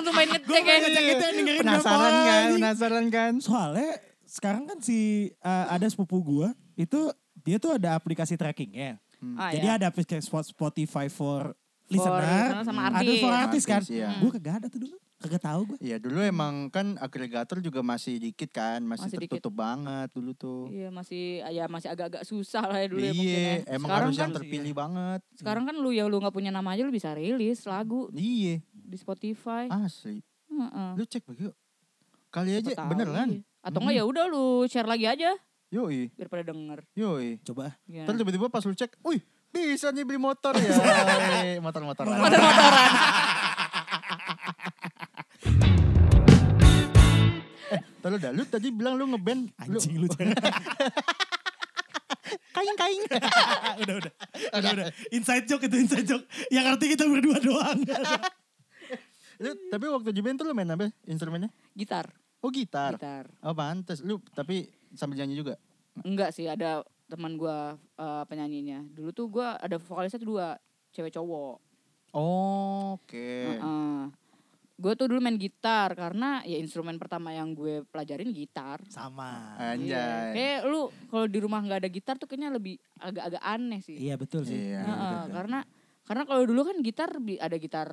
langsung main gue ngecek ya pengen ngecek itu yang dengerin Iya. Penasaran berapa. kan? anjing. Penasaran kan? Soalnya sekarang kan si eh, ada sepupu gue itu dia tuh ada aplikasi trackingnya. Ah, Jadi ya. ada aplikasi Spot- Spotify for, listener listener, sama ada artis. for artis kan. Artis, iya. Gue kagak ada tuh dulu, kagak tahu gue. Iya dulu emang kan agregator juga masih dikit kan, masih, Masih dikit. tertutup banget dulu tuh. iya masih ya masih agak-agak susah lah ya dulu ya mungkin ya. Iya, emang sekarang harus kan yang terpilih banget. sekarang kan lu ya lu nggak punya nama aja lu bisa rilis lagu Iya, di Spotify asli. Heeh. Lu cek bagi yuk. Kali aja Eh. Siapa tahu, iya. beneran. Atau Hmm. enggak ya udah lu share lagi aja Yoi, biar pada denger. ya. yoi. Coba ah. Gimana? Terus tiba-tiba pas lu cek, wih bisa nih beli motor ya. Eh, Motor-motoran. [LAUGHS] Eh, Terus dah, lu tadi bilang lu ngeband. Lu anjing lu. Cer. kain-kain. [LAUGHS] udah, udah. Udah, udah. Inside joke itu inside joke. Yang arti kita berdua doang. lu, tapi waktu di band tuh lu main apa ya, instrumennya? Gitar, Oh gitar. gitar. Oh pantes. Lu tapi sambil nyanyi juga? Enggak sih, ada teman gua eh, penyanyinya. Dulu tuh gua ada vokalisnya tuh dua, cewek cowok. Oke. Heeh. Gue tuh dulu main gitar karena ya instrumen pertama yang gue pelajarin gitar. Sama. Iya. Anjay. Kayak lu kalau di rumah nggak ada gitar tuh kayaknya lebih agak-agak aneh sih. Iya betul sih. Iya. Heeh, kan? betul, betul. karena karena kalau dulu kan gitar bi- ada gitar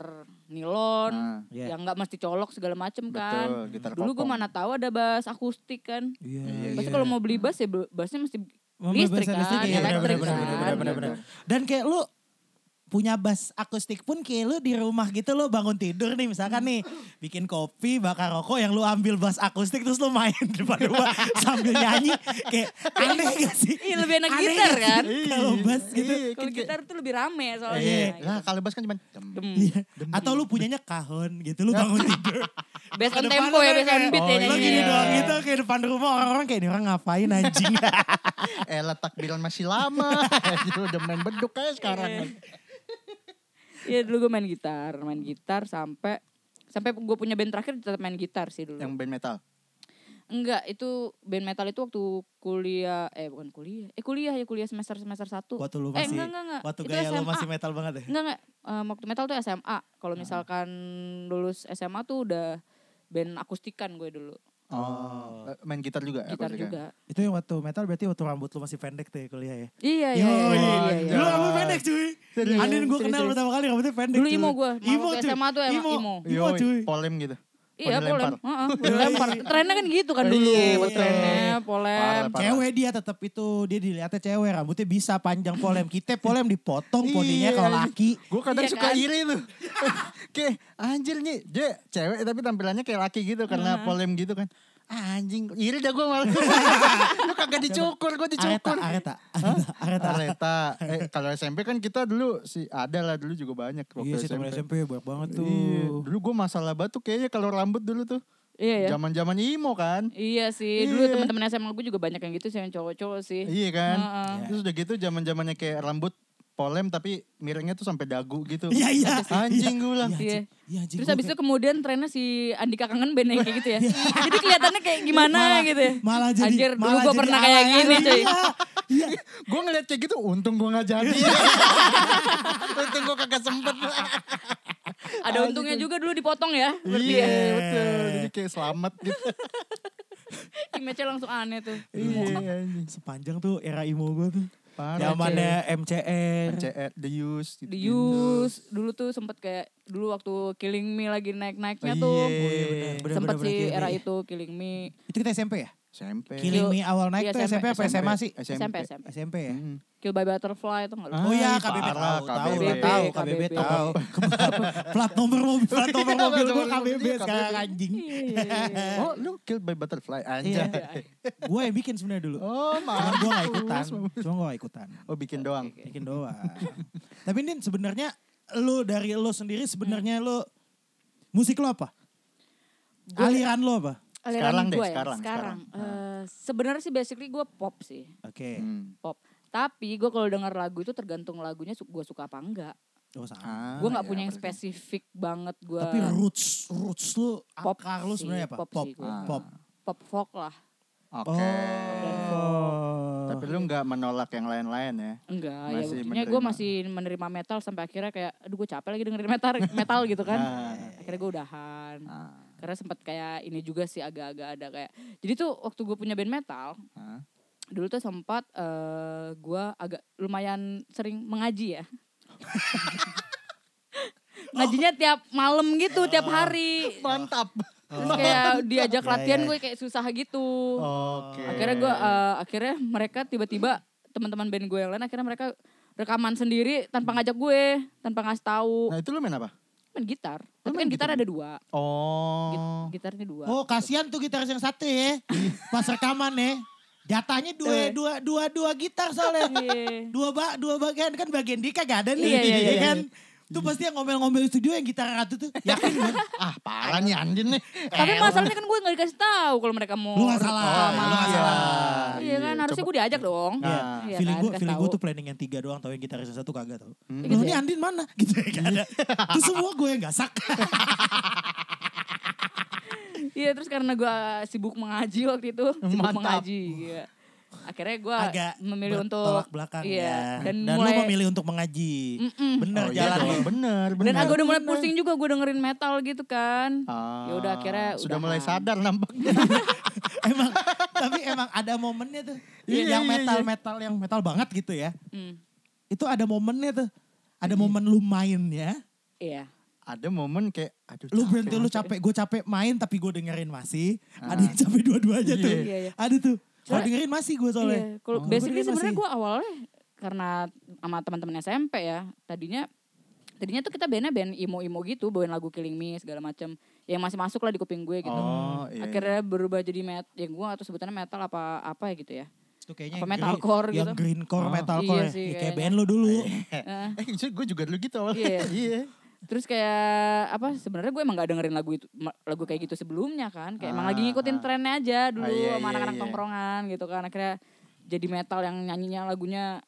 nilon Ah, Iya. yang nggak mesti colok segala macem kan. Betul, gitar Dulu gue kopong. mana tahu ada bass akustik kan. Iya. Iya, Pasti kalau mau beli bass ya bassnya mesti Mau listrik bahasa kan, listrik, iya, elektrik benar, benar, kan. benar, benar, benar. Dan kayak lu punya bass akustik pun kayak lu di rumah gitu lo bangun tidur nih misalkan nih bikin kopi bakar rokok yang lu ambil bass akustik terus lu main [LAUGHS] depan rumah sambil nyanyi kayak aneh gak sih? Ih, Iya, lebih enak Aneh gitar, gak sih kan? Kalau bass gitu. Iya, Kalau kan kayak- gitar tuh lebih rame soalnya. Iya. gitu. Lah kalau bass kan cuman dem. Dem. Iya. Atau lu punyanya kahon gitu [LAUGHS] lu bangun tidur. Based on Depan tempo lu ya, kayak- based on beat Oh, ya iya. Lo gini nyanyinya. doang gitu kayak depan rumah orang-orang kayak ini orang ngapain [LAUGHS] anjing. Eh letak bilan masih [LAUGHS] lama. [LAUGHS] Lu udah main beduk kayak sekarang. kan. Iya dulu gue main gitar, main gitar sampai sampai gue punya band terakhir tetap main gitar sih dulu. Yang band metal. Enggak, itu band metal itu waktu kuliah eh bukan kuliah. Eh kuliah ya kuliah semester semester 1. Waktu lu eh masih enggak enggak enggak. waktu itu gaya lo SMA. masih metal banget ya. Ah. Enggak enggak. Eh, waktu metal tuh SMA. Kalau misalkan lulus SMA tuh udah band akustikan gue dulu. Oh. Main gitar juga. Gitar akustik ya? juga. Itu yang waktu metal berarti waktu rambut lu masih pendek tuh ya kuliah ya. Iya iya Yoi. iya. iya, iya. Dulu rambut pendek cuy. Serius. Andin gue Serius, kenal serius. pertama kali rambutnya pendek. Dulu cuy. imo gue, Imo waktu cuy. SMA tuh emang Imo. imo. Imo Yoi, cuy. polem gitu. Iya Polem polem, lempar. [LAUGHS] Heeh, dilempar. Trennya kan gitu kan dulu, Iya, buat betul. trennya Parah, polem. parah. Cewek dia tetap itu dia dilihatnya cewek rambutnya bisa panjang polem kita polem dipotong poninya Iya, kalau anjing. laki Gue kadang Iya suka kan? iri tuh. [LAUGHS] kayak anjir nih dia cewek tapi tampilannya kayak laki gitu karena polem gitu kan. Ah, anjing iri dah gue [LAUGHS] malah. Lu kagak dicukur gue areta dicukur. areta areta areta Areta. Eh, kalau SMP kan kita dulu sih ada lah dulu juga banyak iya waktu sih temen SMP SMP. banyak banget Iya, tuh Dulu gue masalah batu kayaknya kalau rambut dulu tuh. Iya ya. Zaman-zaman imo kan. Iya sih, dulu Iya. teman-teman SMA gue juga banyak yang gitu sih, yang cowok-cowok sih. Iya kan? Heeh. Terus udah gitu zaman-zamannya kayak rambut polem tapi miringnya tuh sampai dagu gitu. iya iya Anjing gue bilang. Iya. iya anjing Terus gua habis kayak- itu kemudian trennya si Andika kangen band yang kayak gitu ya. jadi kelihatannya kayak gimana Malah- gitu ya. malah jadi- Anjir, dulu malah gue jadi Iya. pernah kayak alay. gini [LAUGHS] cuy. [LAUGHS] gue ngeliat kayak gitu untung gue gak jadi. Iya. [LAUGHS] untung gue kagak sempet. Ada untungnya juga dulu dipotong ya. Berarti [LAUGHS] iya ya. betul. Jadi kayak selamat gitu. Image-nya langsung aneh tuh. iya anjing. sepanjang tuh era emo gue tuh Parah. zamannya MCR CR, the use. gitu. The Used, dulu tuh sempet kayak dulu waktu Killing Me lagi naik-naiknya Oh tuh. Iya. iya benar, benar, sempet benar, sih benar, era iya. itu Killing Me. Itu kita SMP ya? SMP. Killing Me Iya. awal naik Iya, tuh SMP, apa SMA sih? SMP, SMP. SMP ya? Hmm. Kill by Butterfly tuh enggak Oh lu. iya Ay, KBB parah, tahu, tahu, KBB. tahu, KBB KBB. [LAUGHS] tahu. Plat nomor mobil, plat nomor mobil Iya, plat gue nomor KBB mobil, sekarang KBB. anjing. Oh lu killed by butterfly Iya. anjay. iya. Gue yang bikin sebenarnya dulu. Oh Cuman maaf. gue gak ikutan, cuma gue gak ikutan. Oh bikin doang. Bikin doang. [LAUGHS] Tapi Din sebenarnya lu dari lu sendiri sebenarnya lu musik lu apa? Gua- Aliran lu apa? Sekarang deh, gua sekarang, Sekarang. sekarang. Eh, Sebenarnya sih basically gue pop sih. Oke. Hmm. pop. Tapi gue kalau dengar lagu itu tergantung lagunya gue suka apa enggak. Oh sama. Ah, Gue nggak iya, punya yang berarti. spesifik banget gue. Tapi roots, roots lu, Pop akar lu sih, sebenarnya apa? pop Pop, sih gua. Ah. pop. pop folk lah. Oke. Oh. Tapi lu nggak menolak yang lain-lain ya? Enggak, Masih ya buktinya gue menerima. masih menerima metal sampai akhirnya kayak aduh gue capek lagi dengerin metal [LAUGHS] metal gitu kan. akhirnya gue udahan. iya, Ah, Karena sempat kayak ini juga sih agak-agak ada kayak. Jadi tuh waktu gue punya band metal, ah. dulu tuh sempat eh gue agak lumayan sering mengaji [LAUGHS] ya. Ngajinya tiap malam gitu, tiap Oh. hari. Mantap. Terus [LAUGHS] kayak diajak Iya, latihan iya. gue kayak susah gitu. Oh. Oke. Akhirnya gue eh, akhirnya mereka tiba-tiba teman-teman band gue yang lain akhirnya mereka rekaman sendiri tanpa ngajak gue, tanpa ngasih tahu. Nah itu lu main apa? Main gitar. Tapi kan gitar ada dua. Git- Oh. Gitarnya dua. Oh kasihan tuh gitaris yang satu [LAUGHS] ya. Pas rekaman ya. Jatahnya dua, Eh. dua, dua, dua gitar [LAUGHS] soalnya. [LAUGHS] Iya. dua, ba, dua bagian kan bagian Dika gak ada nih. Iya, iya, ya iya. kan. Tuh pasti yang ngomel-ngomel di studio yang gitar ratu tuh. Yakin [LAUGHS] kan? Ah parah nih Andin [LAUGHS] nih. Eh, Tapi masalahnya kan gue gak dikasih tahu kalau mereka mau. Eh, Lu gak salah. rekaman. Oh, iya, lu gak salah. Iya kan harusnya gue diajak dong. Iya. Iya feeling kan, gue dikasih feeling gue tahu. tuh planning yang tiga doang tau yang gitaris yang satu kagak tau. Loh Hmm. Gitu ini ya? Andin mana? [LAUGHS] Gitu ya gak ada. Itu semua gue yang gasak. Iya terus karena gue sibuk mengaji waktu [LAUGHS] itu. Sibuk Mantap. mengaji. Iya. Akhirnya gue Agak memilih untuk. bertolak belakang iya. ya. Dan, Dan, mulai. lu memilih untuk mengaji. Mm-mm. Bener Oh, iya jalan dong, lu. [LAUGHS] Bener, bener. Dan aku udah mulai pusing juga gue dengerin metal gitu kan. Ah, Ya udah, kan. Iya. akhirnya sudah udahan. mulai sadar nampaknya. emang tapi emang ada momennya tuh Iya, yang iya, metal iya. metal yang metal banget gitu ya Hmm, itu ada momennya tuh ada momen lu main ya Iya. [LAUGHS] Ada momen kayak, lu aduh capek. berhenti lu capek gue capek main tapi gue dengerin masih Ah. ada yang capek dua-duanya tuh Iya, iya. ada tuh kalau Soalnya- dengerin masih gue soalnya Oh, Iya. Kalau Gua basically dengerin sebenarnya masih. gue awalnya karena sama teman-teman SMP ya. Tadinya Tadinya tuh kita bandnya band emo-emo gitu, bawain lagu Killing Me segala macem. Ya yang masih masuk lah di kuping gue gitu. Oh, iya, iya. Akhirnya berubah jadi metal, ya gue atau sebutannya metal apa apa ya gitu ya. Itu kayaknya Apa yang green- metalcore yang gitu. greencore, Oh. metalcore. Iya ya. Ya, sih, kayak kayaknya. band lu dulu. Eh, Eh, gue juga dulu gitu Iya. awalnya. [LAUGHS] Iya. terus kayak apa sebenarnya gue emang gak dengerin lagu itu ma- lagu kayak gitu sebelumnya kan kayak emang Ah, lagi ngikutin ah. trennya aja dulu Ah, iya, sama iya, anak-anak iya. tongkrongan gitu kan akhirnya jadi metal yang nyanyinya lagunya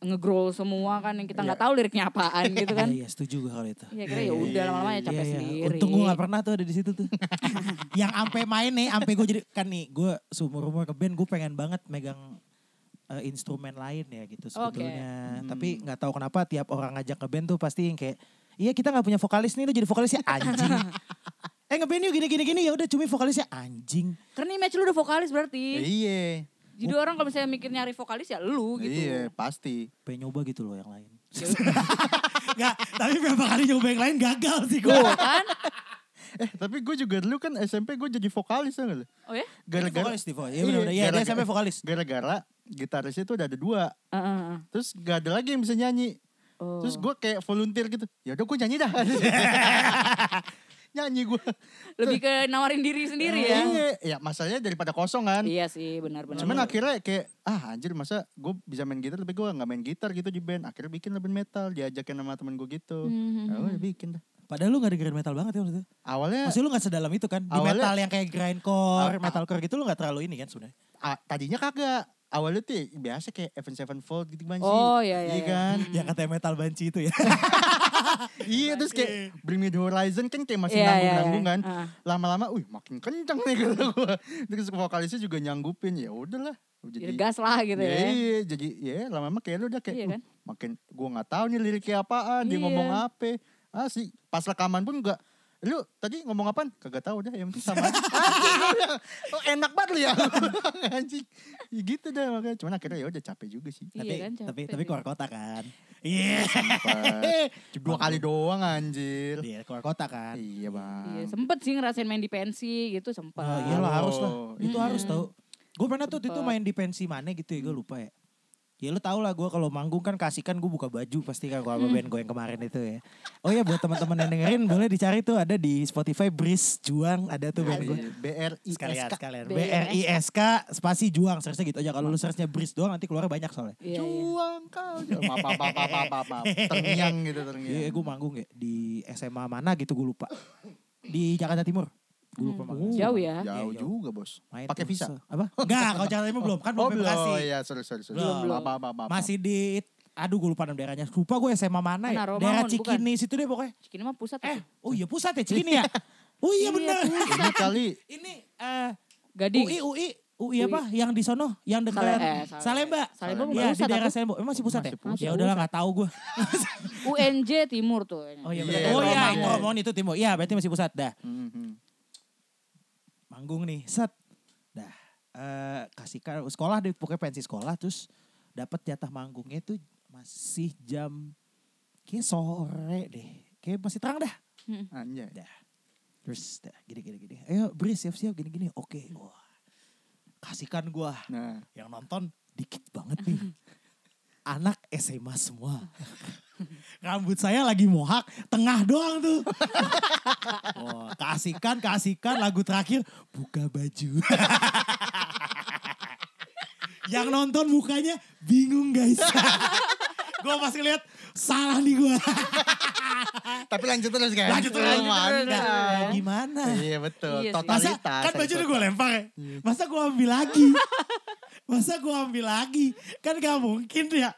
ngegrol semua kan yang kita Iya. nggak tahu liriknya apaan gitu [LAUGHS] kan Iya, iya, setuju gue kalau itu. ya kira ya udah lama-lama ya capek Iya, iya. sendiri Untung gue gak pernah tuh ada di situ [LAUGHS] tuh. yang ampe main nih, ampe gue jadi kan nih, gue seumur umur ke band gue pengen banget megang eh, instrumen lain ya gitu sebetulnya. Tapi nggak tahu kenapa tiap orang ngajak ke band tuh pasti yang kayak, iya kita nggak punya vokalis nih, lu jadi vokalis ya [LAUGHS] anjing. eh ngeband yuk gini gini gini ya udah cumi vokalisnya anjing. karena image lu udah vokalis berarti Iya. jadi orang kalau misalnya mikir nyari vokalis ya lu gitu Iya, pasti. Pengen nyoba gitu loh yang lain. Iya. [LAUGHS] Nggak, tapi berapa kali nyoba yang lain gagal sih gue. Tuh kan Eh, tapi gue juga dulu kan SMP gue jadi vokalis tau gak lu? oh ya Gara-gara Vokalis nih, vokalis. Iya bener-bener. Iya, dia gara-gara- sampai vokalis. Gara-gara gitarisnya tuh udah ada dua. Ah, ah, ah. Terus gak ada lagi yang bisa nyanyi. Oh. Terus gue kayak volunteer gitu. Ya udah gue nyanyi dah. nyanyi gue. lebih ke nawarin diri sendiri ya Iya, ya masalahnya daripada kosong kan. iya sih benar-benar Cuman akhirnya kayak ah anjir masa gue bisa main gitar tapi gue nggak main gitar gitu di band. Akhirnya bikin lah band metal diajakin sama temen gue gitu. Hmm. Ya udah bikin dah. Padahal lu gak dengerin metal banget ya maksudnya. Awalnya Maksudnya lu gak sedalam itu kan. Di Awalnya- metal yang kayak grindcore, Ah, ah. metalcore gitu lu gak terlalu ini kan sebenarnya. ah, tadinya kagak. Awalnya tuh ya biasa kayak Evan Sevenfold gitu banget sih. Oh, iya, iya, Iya iya. kan? Yang katanya metal banci itu ya. iya terus kayak Bring Me The Horizon kan kayak masih Iya, iya, nanggung-nanggung iya. kan. Ah. Lama-lama uh makin kenceng nih [LAUGHS] kata gue. Terus vokalisnya juga nyanggupin. Ya udahlah. jadi gas lah gitu Iya, ya Iya, jadi ya lama-lama kayak lu udah kayak Iya "Uh, kan? makin gua nggak tahu nih liriknya apaan, dia Iya. ngomong apa. Ah sih, pas rekaman pun enggak lu tadi ngomong apaan? Kagak tahu dah, yang penting [LAUGHS] sama. [LAUGHS] aja." Anjing, gua bilang, oh, enak banget lu ya. [LAUGHS] Anjing. Ya gitu dah makanya. Cuman akhirnya ya udah capek juga sih. Iya tapi, kan, tapi, capek tapi sih. keluar kota kan. Iya. [LAUGHS] Sempat. Dua kali doang anjir. Iya keluar kota kan. Iya, Bang. Iya, sempet sih ngerasain main di pensi gitu sempet. Oh, iyalah harus lah. Itu Iya. harus tau. Gue pernah tuh itu Tempat. main di pensi mana gitu ya gue lupa ya. Ya lu tau lah gue kalau manggung kan kasihkan gue buka baju pasti kan kalau Hmm. band gue yang kemarin itu ya. Oh ya buat teman-teman yang dengerin boleh dicari tuh ada di Spotify Breeze Juang ada tuh band Iya, gue. BRI sekalian sekalian B B R R I I S K spasi juang searchnya gitu aja kalau lu searchnya bris doang nanti keluar banyak soalnya Iya, iya. Juang kau. Apa apa apa apa apa. Terngiang gitu terngiang. iya gue manggung ya di SMA mana gitu gue lupa di Jakarta Timur gue lupa manggung Jauh ya. Jauh Iya, jauh. juga, Bos. Main Pakai tuh, visa. se- apa enggak kalau Jakarta Timur belum kan belum oh, sampai belum. Bekasi Oh iya, sorry, sorry, sorry. Belum, belum. Apa, apa, apa, apa. masih di aduh gue lupa nama daerahnya lupa gue SMA mana ya Mana, Romangun, daerah bukan? Cikini situ deh pokoknya Cikini mah pusat eh tuh. oh iya pusat ya Cikini ya oh iya [LAUGHS] Iya, bener Ini [LAUGHS] kali ini eh Gading. UI UI UI apa yang di sono yang Sale- dekat eh, Sale- Salemba Salemba bukan Iya, di pusat, daerah apa? Salemba emang masih pusat ya Masih pusat. ya udahlah nggak tahu gue UNJ Timur tuh. ya. Oh iya, Iya, benar. oh iya, Romangun. Romangun itu timur. Iya, berarti masih pusat dah. Mhm. Manggung nih, set. Dah. Eh kasih ke sekolah deh, pokoknya pensi sekolah terus dapat jatah manggungnya itu masih jam kayak sore deh. Kayak masih terang dah. Anjay. Dah. Terus dah, gini gini gini. Ayo, Bris siap-siap gini gini. Oke. Wah. Kasihkan gua. Nah, Yang nonton dikit banget [LAUGHS] nih. Anak SMA semua. [LAUGHS] Rambut saya lagi mohak, tengah doang [LAUGHS] tuh. Oh, keasikan, keasikan lagu terakhir buka baju. [LAUGHS] Yang nonton mukanya bingung guys. [LAUGHS] gue pasti lihat salah nih gue. tapi lanjut terus kan. Lanjut terus, lanjut Mantap. Gimana? Iya betul. Iya sih. Masa Totalitas. kan baju udah Totalitas. gue lempar ya. Iya. Masa gue ambil lagi? [LAUGHS] Masa gue ambil lagi? Kan gak mungkin ya.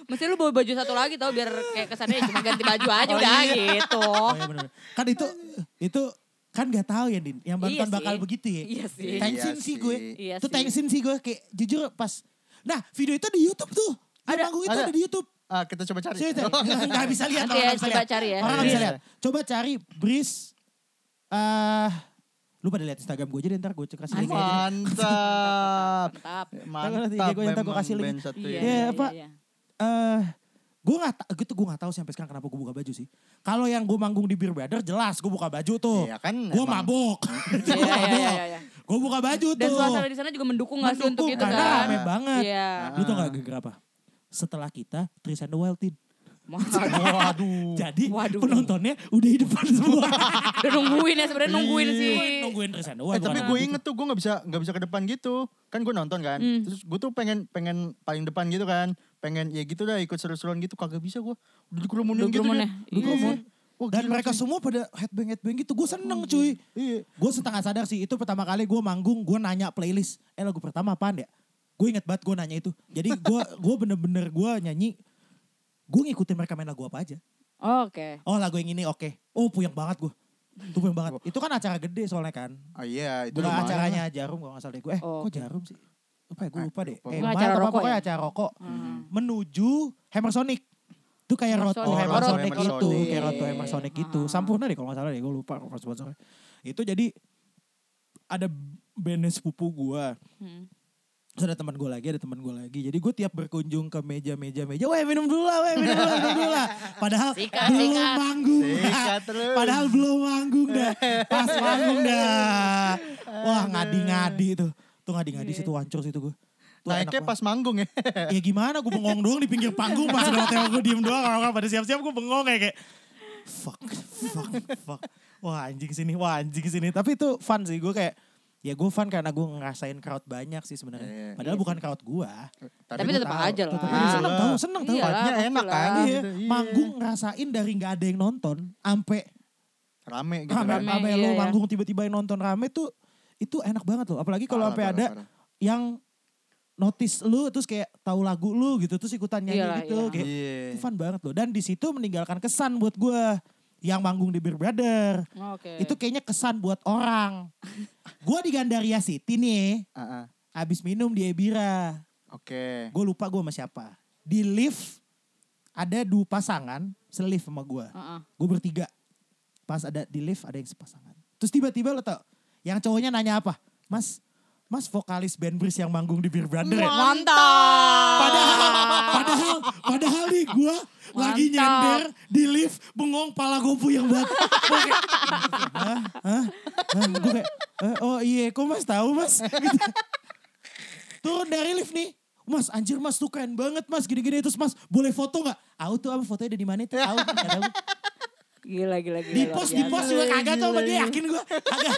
Mesti lu bawa baju satu lagi tau biar kayak kesannya ya cuma ganti baju aja Oh, udah iya. gitu. Oh iya bener-bener. Kan itu itu kan gak tahu ya Din, yang Iya Banten sih. bakal begitu ya. Iya sih. Tensin Iya sih sih. gue. Iya tuh sih. tensin sih gue kayak jujur pas. Nah video itu di Youtube tuh. Ada. Manggung itu ada. ada, di Youtube. Ah, kita coba cari. [LAUGHS] Serius Gak bisa lihat. Nanti orang nggak ya, bisa coba lihat. cari ya. iya, Orang gak bisa Iya. lihat. Coba cari Breeze. eh lu pada lihat Instagram gue aja deh ntar gue cek kasih link aja. Mantap. Mantap. Tunggu nanti, Mantap. gue yang takut memang kasih link. band satu Iya, Iya, ya. iya, apa? iya. Eh, gue gak ta- gitu gue gak tahu sampai sekarang kenapa gue buka baju sih. Kalau yang gue manggung di Beer Brother jelas gue buka baju tuh. Iya kan, Gue emang. [LAUGHS] mabok. Iya, iya, iya, iya, iya. Gue buka baju tuh. Dan suasana di sana juga mendukung gak sih untuk Mendukung, itu karena kan? [LAUGHS] rame banget. Iya. Lu tau gak gara-gara apa? Setelah kita Tris and the Wild Tin. Mahal. Waduh. Jadi Waduh. penontonnya udah di depan [LAUGHS] semua. Udah nungguin ya sebenarnya nungguin sih. Iya. Nungguin terusan. Wah, Eh, bukan tapi gue anak. inget tuh gue nggak bisa nggak bisa ke depan gitu kan gue nonton kan Hmm. terus gue tuh pengen pengen paling depan gitu kan pengen ya gitu dah ikut seru-seruan gitu kagak bisa gue udah dikerumunin Udah gitu kerumun ya? dia. Iya. Dikerumun. Wah, Dan gila mereka sih. semua pada headbang headbang gitu. Gue seneng cuy. iya Gue setengah sadar sih itu pertama kali gue manggung gue nanya playlist. Eh lagu pertama apaan ya? Gue inget banget gue nanya itu. Jadi gue gue bener-bener gue nyanyi. Gue ngikutin mereka main lagu apa aja. Oke. Oh lagu yang ini oke. Oh puyeng banget gue. Itu puyeng banget. Itu kan acara gede soalnya kan. ah iya itu Bukan lumayan acaranya Jarum kalau gak salah deh gue. Eh Oh, kok Jarum sih? Lupa ya gue Ah, lupa deh. lupa. Eh, Itu mahal acara apa, rokok pokoknya ya? acara rokok. Hmm. Menuju Hammer Sonic. Itu kayak Hammer Road to Sonic. Oh, Hammer Road to Sonic Hammer itu. Sonic. Kayak Road to Hammer Sonic itu. Ah. Sampurna deh kalau gak salah deh gue lupa cover sponsornya. Itu jadi ada bandnya sepupu gue. Hmm. Terus ada teman gue lagi, ada teman gue lagi. Jadi gue tiap berkunjung ke meja-meja meja, weh minum dulu lah, weh minum dulu, minum dulu lah. Padahal Sikat, belum sikat. manggung. Sikat terus. Padahal belum manggung dah. Pas manggung dah. Wah ngadi-ngadi tuh. Tuh Iya, ngadi-ngadi situ hancur situ gue. Tuh enak naiknya banget. pas manggung ya Ya gimana gue bengong doang di pinggir panggung pas lewat tembok gue diem doang orang-orang pada siap-siap gue bengong kayak kayak fuck fuck fuck wah anjing sini wah anjing sini tapi itu fun sih gue kayak ya gue fun karena gue ngerasain crowd banyak sih Iya, sebenarnya iya. padahal bukan crowd gue Tapi gua tetap tahu. aja lah. tapi seneng tahu seneng tahu Iyalah, Tempatnya pasti enak lah. kan Iya, Iya. gitu, iya. manggung ngerasain dari nggak ada yang nonton ampe rame gitu rame kan. Rame, rame iya, lo iya. manggung tiba-tiba yang nonton rame tuh itu enak banget loh apalagi kalau Parah, sampai Ah, parah, ada parah. yang notice lu terus kayak tahu lagu lu gitu terus ikutan nyanyi Iyalah, gitu iyalah. kayak Iya. itu fun banget loh dan di situ meninggalkan kesan buat gue yang manggung di Beer Brother Oke. itu kayaknya kesan buat orang gue di Gandaria City nih Ah, ah. abis minum di Ebira oke gue lupa gue sama siapa di lift ada dua pasangan selif sama gue Heeh. gue bertiga pas ada di lift ada yang sepasangan terus tiba-tiba lo tau yang cowoknya nanya apa mas mas vokalis band Breeze yang manggung di Beer Brother ya? Mantap. Padahal, padahal, padahal nih gue lagi Mantap. nyender di lift bengong pala gue puyeng banget. Gue kayak, hah? Hah? Hah?" Gue kayak, "Eh, oh iya, kok mas tahu mas? Gitu. Turun dari lift nih. Mas, anjir mas, tuh keren banget mas, gini-gini. Terus mas, boleh foto gak? Au tuh apa fotonya ada di mana itu? Au, gak tahu. Gila gila gila. Di pos, di luar pos biasa. juga kagak tuh sama dia, yakin gue. Kagak.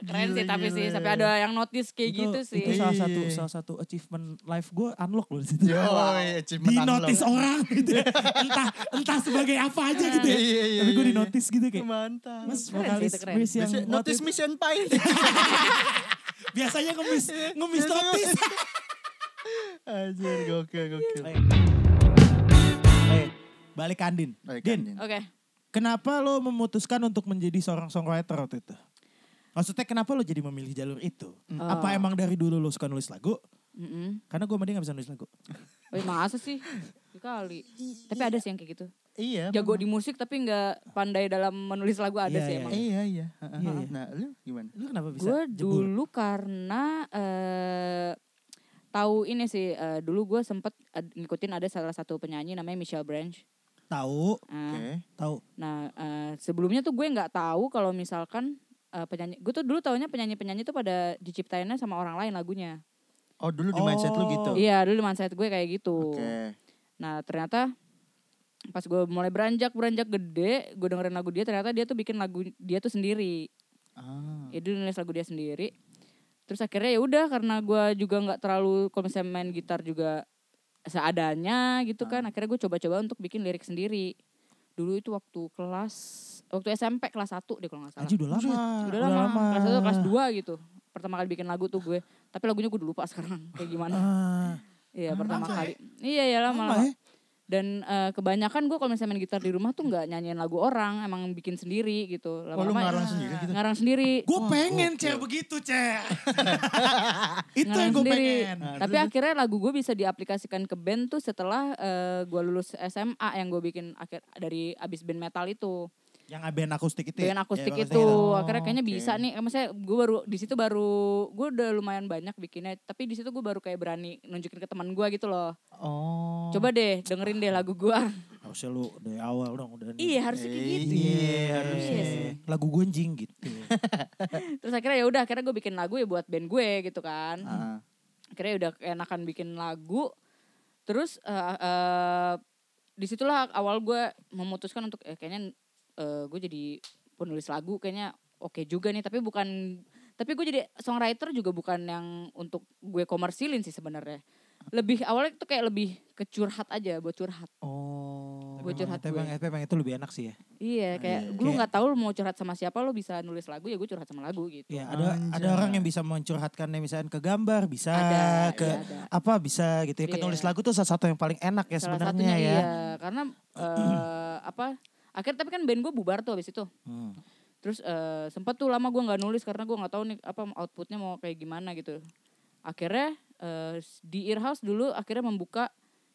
Keren sih Gila, tapi sih gila. sampai ada yang notice kayak Itu- gitu sih. Itu salah Iya. satu, salah satu achievement life gue unlock loh di situ. Yoi, achievement di unlock. notice orang gitu ya. entah entah sebagai apa aja gitu ya. [LAUGHS] Iya, iya, iya, tapi gue di iya. notice gitu kayak mantap mas Keren sih, vokalis itu keren. Miss yang waktu Biasanya notice itu- miss and pie biasanya [LAUGHS] ngemis ngemis Iya, [LAUGHS] notice [LAUGHS] Anjir, gokil, gokil. Eh. Eh, balik ke Andin Balik ke Din Andin. Oke. kenapa lo memutuskan untuk menjadi seorang songwriter waktu itu maksudnya kenapa lo jadi memilih jalur itu apa emang dari dulu lo suka nulis lagu Heeh. karena gue mending gak bisa nulis lagu Wih masa sih? Kali. Tapi ada sih yang kayak gitu. Iya. Jago di musik tapi nggak pandai dalam menulis lagu ada Iya, sih iya. emang. Iya, iya. Ah, ah, Iya, ah. iya. Nah, lu gimana? lo kenapa bisa Gue jebol? dulu karena eh tahu ini sih eh, dulu gue sempet ad- ngikutin ada salah satu penyanyi namanya Michelle Branch. tahu Ah, Oke. tahu Nah eh, sebelumnya tuh gue nggak tahu kalau misalkan eh, penyanyi, gue tuh dulu taunya penyanyi-penyanyi tuh pada diciptainnya sama orang lain lagunya. Oh, dulu di mindset lu Oh. gitu. Iya dulu mindset gue kayak gitu. Oke. Nah ternyata pas gue mulai beranjak beranjak gede, gue dengerin lagu dia ternyata dia tuh bikin lagu dia tuh sendiri. Ah. Ya dia nulis lagu dia sendiri. Terus akhirnya ya udah karena gue juga nggak terlalu kalau misalnya main gitar juga seadanya gitu kan. Ah. Akhirnya gue coba-coba untuk bikin lirik sendiri. Dulu itu waktu kelas waktu SMP kelas 1 deh kalau nggak salah. Aji udah lama Udah lama. Kelas 1 kelas 2 gitu. Pertama kali bikin lagu tuh gue. Tapi lagunya gue udah lupa [LAUGHS] sekarang kayak gimana. Ah, Iya pertama lama kali. Iya ya lama. lama lama. ya. Dan eh, kebanyakan gue kalau misalnya main gitar di rumah tuh nggak nyanyiin lagu orang, emang bikin sendiri gitu. Oh, lu Lama-lama- ngarang sendiri gitu. Ngarang sendiri. Gue pengen cer begitu cer. Itu Ngarang yang gue sendiri. pengen. Nah, Tapi terus- akhirnya lagu gue bisa diaplikasikan ke band tuh setelah eh, gue lulus SMA yang gue bikin akhir dari abis band metal itu. oh. Yang band akustik itu. ya? Band akustik Ya, itu. akustik akhirnya kayaknya oke. bisa nih. Eh, Maksudnya gue baru di situ baru gue udah lumayan banyak bikinnya, tapi di situ gue baru kayak berani nunjukin ke teman gue gitu loh. Oh. Coba deh dengerin deh lagu gue. [LAUGHS] Harusnya lu dari awal dong udah. nih. iya harusnya kayak gitu. Iya, Iya harusnya. sih. Lagu gonjing [LAUGHS] gitu. Terus akhirnya ya udah akhirnya gue bikin lagu ya buat band gue gitu kan. Ah. Akhirnya udah enakan bikin lagu. Terus eh, eh, disitulah awal gue memutuskan untuk eh, kayaknya eh, gue jadi penulis lagu kayaknya oke juga nih tapi bukan tapi gue jadi songwriter juga bukan yang untuk gue komersilin sih sebenarnya lebih awalnya tuh kayak lebih ke curhat aja buat curhat Oh. Gua Tapi emang- curhat tapi gue. emang- tapi emang itu lebih enak sih ya. iya iya. kayak gue nggak tahu lu mau curhat sama siapa lo bisa nulis lagu ya gue curhat sama lagu gitu Ya, ada ada Anjay. orang yang bisa mencurhatkannya misalnya ke gambar, bisa Ada, ke iya, ada. apa bisa gitu ya. Ke Iya. nulis lagu tuh salah satu yang paling enak ya salah sebenarnya satunya ya. iya karena eh, apa akhirnya tapi kan band gue bubar tuh abis itu Hmm. terus eh, sempat tuh lama gue nggak nulis karena gue nggak tahu nih apa outputnya mau kayak gimana gitu akhirnya eh, di Earhouse dulu akhirnya membuka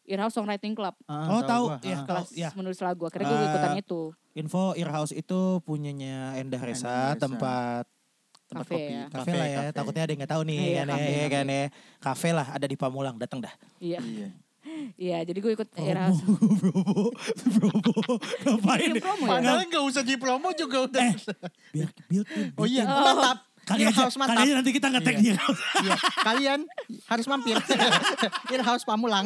Earhouse Songwriting Club Ah, Oh, tahu. gua. Ya, Ah. tahu. kelas Ya. menulis lagu akhirnya gue Eh, ikutan itu Info Earhouse itu punyanya Endah Resa, Endah Resa. tempat tempat Kafe kopi, ya. kafe, Kafe, lah ya. kafe. Takutnya ada yang nggak tahu nih, Iya, kan ya, kafe, iya kafe. kan ya. Kafe lah ada di Pamulang, datang [LAUGHS] dah. iya Iya. iya jadi gue ikut Promo, Earhouse promo, promo. Ngapain? Iya, promo ya? Padahal nggak usah di promo juga udah. Biar built in. Oh iya, Oh. mantap. Kali Ini aja, harus mantap. kali aja nanti kita nge-tag di Earhouse. Iya, kalian harus [LAUGHS] mampir. Ini harus pamulang.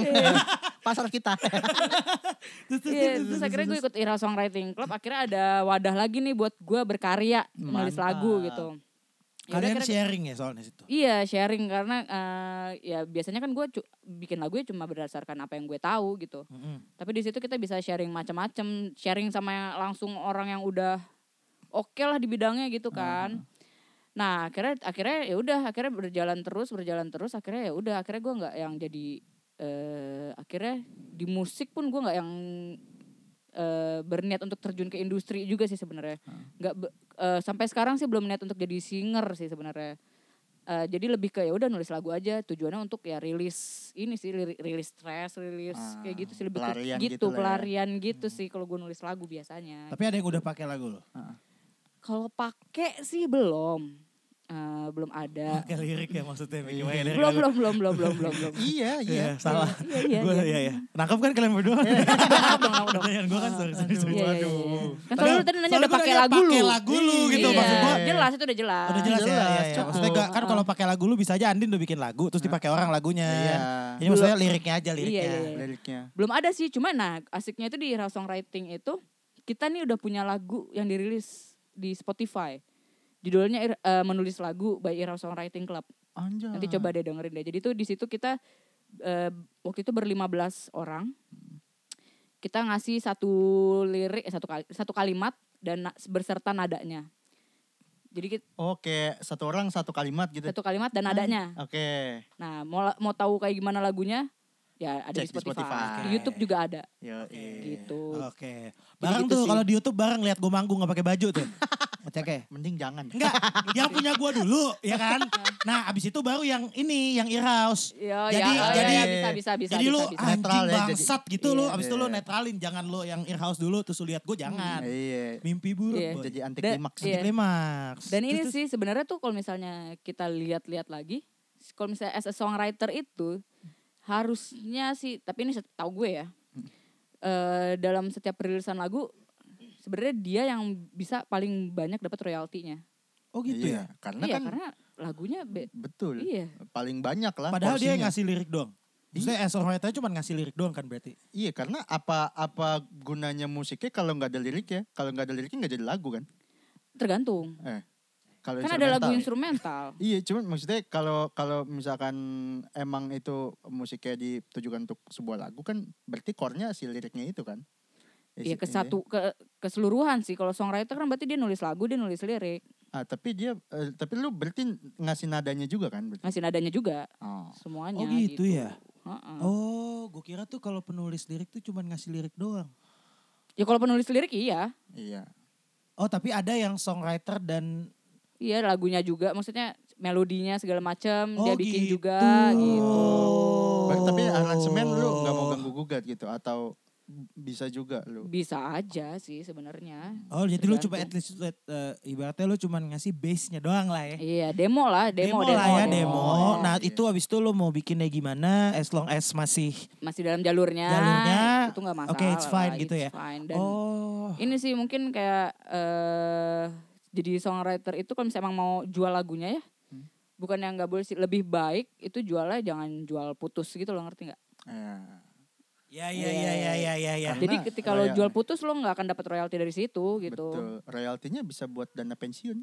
Pasar kita. Terus, terus, Iya, terus, terus terus, akhirnya gue terus. ikut Ira Songwriting Club. Akhirnya ada wadah lagi nih buat gue berkarya, menulis Mantap. lagu gitu. Ya udah, Kalian akhirnya- sharing ya soalnya situ. Iya sharing karena eh, ya biasanya kan gue cu- bikin lagunya cuma berdasarkan apa yang gue tahu gitu. Mm-mm. Tapi di situ kita bisa sharing macam-macam, sharing sama yang- langsung orang yang udah oke lah di bidangnya gitu kan. Nah akhirnya akhirnya ya udah akhirnya berjalan terus berjalan terus akhirnya ya udah akhirnya gue nggak yang jadi eh akhirnya di musik pun gue nggak yang eh, berniat untuk terjun ke industri juga sih sebenarnya nggak be- eh, sampai sekarang sih belum niat untuk jadi singer sih sebenarnya Eh, jadi lebih ke ya udah nulis lagu aja tujuannya untuk ya rilis ini sih lir- rilis stres rilis Ah, kayak gitu sih lebih ke pelarian gitu, gitu lah ya. pelarian gitu sih kalau gue nulis lagu biasanya Tapi ada yang udah pakai lagu lo. kalau pakai sih belum Eh, belum ada Pakai lirik ya maksudnya. Miki Wayne, lirik belum lagu. belum belum belum belum belum belum [LAUGHS] [LAUGHS] Iya, iya. Iya, salah. Iya, iya, Gua- iya. iya, iya. Nangkep kan kalian berdua? [LAUGHS] Nangkep dong, nangkep dong. Pertanyaan gue kan sorry, sorry, sorry. Iya, iya, iya. Waduh. Kan soalnya lu tadi nanya Soalnya udah gua pakai nanya lagu lu. pakai lagu lu gitu Iya, maksud gua. Jelas itu udah jelas. Udah jelas, ya, Jelas, ya, ya. Maksudnya cukup. gak- Ah. kan kalau pakai lagu lu bisa aja Andin udah bikin lagu terus dipakai orang lagunya. Iya. Ini maksudnya liriknya aja, liriknya. Iya, iya, iya. Liriknya. Belum ada sih, cuma nah asiknya itu di raw songwriting itu kita nih udah punya lagu yang dirilis di Spotify. Judulnya Ir- eh, menulis lagu by Ira Songwriting Club. Anjay. Nanti coba deh dengerin deh. Jadi tuh di situ kita eh, waktu itu berlima belas orang. Kita ngasih satu lirik, eh, satu kali, satu kalimat dan na- berserta nadanya. Jadi kita- Oke, satu orang satu kalimat gitu. satu kalimat dan nadanya. Oke. Nah, mau la- mau tahu kayak gimana lagunya? Ya ada di Cek di Spotify. Spotify. Oh. Di YouTube juga ada Yo, gitu. Oke. Bareng gitu tuh sih. kalau di YouTube bareng lihat gue manggung gak pakai baju [LAUGHS] tuh. Oke. Mending jangan. [LAUGHS] Enggak, yang punya gua dulu, ya kan? Nah, abis itu baru yang ini, yang Iraus. Iya, Jadi- ya, oh, jadi- ya, ya, bisa bisa bisa jadi bisa, lu bisa. anjing Netral ya, jadi- bangsat gitu lu, Iya. abis itu lu netralin, jangan lu yang Earhouse dulu terus lu lihat gue jangan. Iya. Mimpi buruk. Iya. boy. Jadi anti Da- klimaks. iya. Anti klimaks. Dan ini Terus- sih sebenarnya tuh kalau misalnya kita lihat-lihat lagi, kalau misalnya as a songwriter itu harusnya sih, tapi ini tahu gue ya, Hmm. eh, dalam setiap perilisan lagu sebenarnya dia yang bisa paling banyak dapat royaltinya. Oh gitu ya. Iya, karena iya kan karena lagunya be- betul. Iya. Paling banyak lah. Padahal dia yang porsinya. ngasih lirik doang. Maksudnya as songwriter cuma ngasih lirik doang kan berarti. Iya, karena apa apa gunanya musiknya kalau nggak ada lirik ya? Kalau nggak ada liriknya nggak jadi lagu kan? tergantung. Eh, kalau Kan ada lagu instrumental. instrumental. Iya, cuman maksudnya kalau kalau misalkan emang itu musiknya ditujukan untuk sebuah lagu kan berarti core-nya si liriknya itu kan. Iya si- ke ini. satu ke keseluruhan sih. Kalau songwriter kan berarti dia nulis lagu, dia nulis lirik, Ah, tapi dia eh, tapi lu berarti ngasih nadanya juga kan berarti. ngasih nadanya juga Oh. semuanya. Oh gitu, ya. Heeh. Oh, gue kira tuh kalau penulis lirik tuh cuma ngasih lirik doang. Ya kalau penulis lirik iya, Iya. Oh, tapi ada yang songwriter dan iya lagunya juga, maksudnya melodinya segala macam oh dia bikin gitu. juga gitu. Ber- Oh. Tapi aransemen lu nggak mau ganggu gugat gitu atau bisa juga lu. Bisa aja sih sebenarnya. Oh, jadi lu cuma at Tergantung. least eh, ibaratnya lu cuma ngasih bass-nya doang lah ya. Iya demo lah, demo demo, Oh, lah ya, demo. demo. Iya. Nah, itu habis itu lu mau bikinnya gimana as long as masih Masih dalam jalurnya, Jalurnya, itu nggak masalah. oke, it's fine lah, gitu it's ya. fine. Dan Oh. ini sih mungkin kayak eh jadi songwriter itu kalau misalnya emang mau jual lagunya ya, bukan yang nggak boleh sih, lebih baik itu jualnya jangan jual putus gitu loh ngerti nggak? Iya. Ya ya ya ya iya. ya ya ya. Karena Jadi ketika lo royal- jual putus lo nggak akan dapat royalti dari situ gitu. Betul. Royaltinya bisa buat dana pensiun.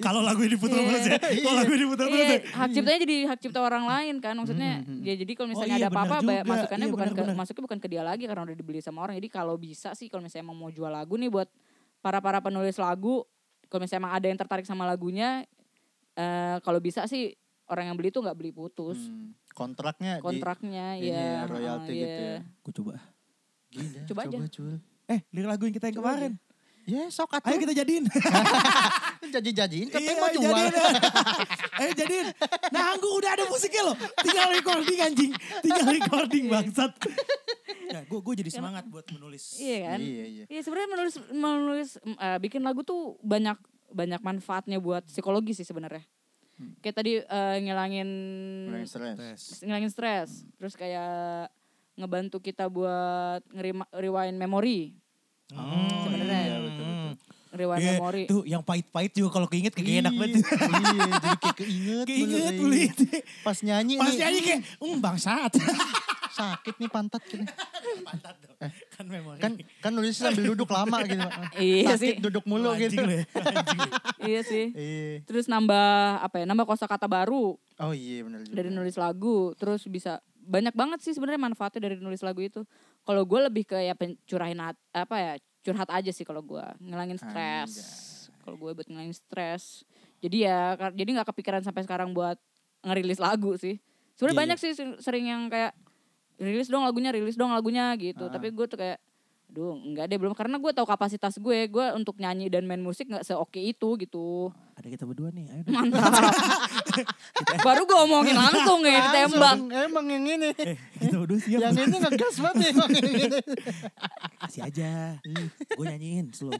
Kalau lagu ini diputar Iya. terus ya. Kalau lagu ini diputar terus ya. Iya, hak ciptanya jadi hak cipta orang lain kan maksudnya. Ya jadi kalau misalnya Oh, iya, ada apa-apa benar bay- juga. masukannya Iya, bukan benar, ke benar. masuknya bukan ke dia lagi karena udah dibeli sama orang. Jadi kalau bisa sih kalau misalnya emang mau jual lagu nih buat para-para penulis lagu, kalau misalnya emang ada yang tertarik sama lagunya eh kalau bisa sih orang yang beli tuh nggak beli putus Hmm, [LAUGHS] kontraknya kontraknya ini ya, ya royalti ah, gitu ya. Gue coba. Gila, Coba aja. Cul. Eh, lirik lagu yang kita yang kemarin. Ya, sok Ayo atuh. kita jadiin. Ah. jadi-jadiin Iya, katanya mau jual. jadiin. [LAUGHS] Ayo jadiin. Nanggung udah ada musiknya loh. Tinggal recording anjing. Tinggal recording bangsat. Nah, gue gue jadi semangat buat menulis. Iya kan? Iya, iya. Iya sebenarnya menulis menulis mm, eh, bikin lagu tuh banyak banyak manfaatnya buat psikologi sih sebenarnya. Hmm. Kayak tadi eh, ngilangin Ngurangin stres. Tes. ngilangin stres, terus kayak ngebantu kita buat ngerima- rewind memori, Hmm, Oh, Sebenarnya. Iya, betul, betul. rewind Iya, memori. Tuh yang pahit-pahit juga kalau keinget kagak enak banget. Iya, Iya, jadi kayak keinget. Keinget, bener, beli. iya. Pas nyanyi Pas nih, nyanyi kayak, um bangsat. sakit nih pantat kita. Pantat dong. Kan memori. Kan kan nulis sambil duduk lama gitu. Iya sakit sih. duduk Lu mulu anjing gitu. lu ya. Anjing lu. iya sih. Iya. Terus nambah apa ya? Nambah kosakata baru Oh iya benar juga. dari nulis lagu, terus bisa banyak banget sih sebenarnya manfaatnya dari nulis lagu itu. Kalau gue lebih ke ya pencurahin hat- apa ya curhat aja sih kalau gue ngilangin stres. Kalau gue buat ngilangin stres, jadi ya kar- jadi nggak kepikiran sampai sekarang buat ngerilis lagu sih. Sebenarnya banyak sih ser- sering yang kayak rilis dong lagunya, rilis dong lagunya gitu. Tapi gue tuh kayak Duh, enggak deh belum karena gue tahu kapasitas gue, gue untuk nyanyi dan main musik nggak seoke itu gitu. Ada kita berdua nih. Ayo. dong. Mantap. Baru gue omongin langsung ya ditembak. Langsung, Emang yang ini. Eh, kita berdua siap. Yang ini ngegas banget nih, emang yang ini. Kasih aja. gue nyanyiin slow.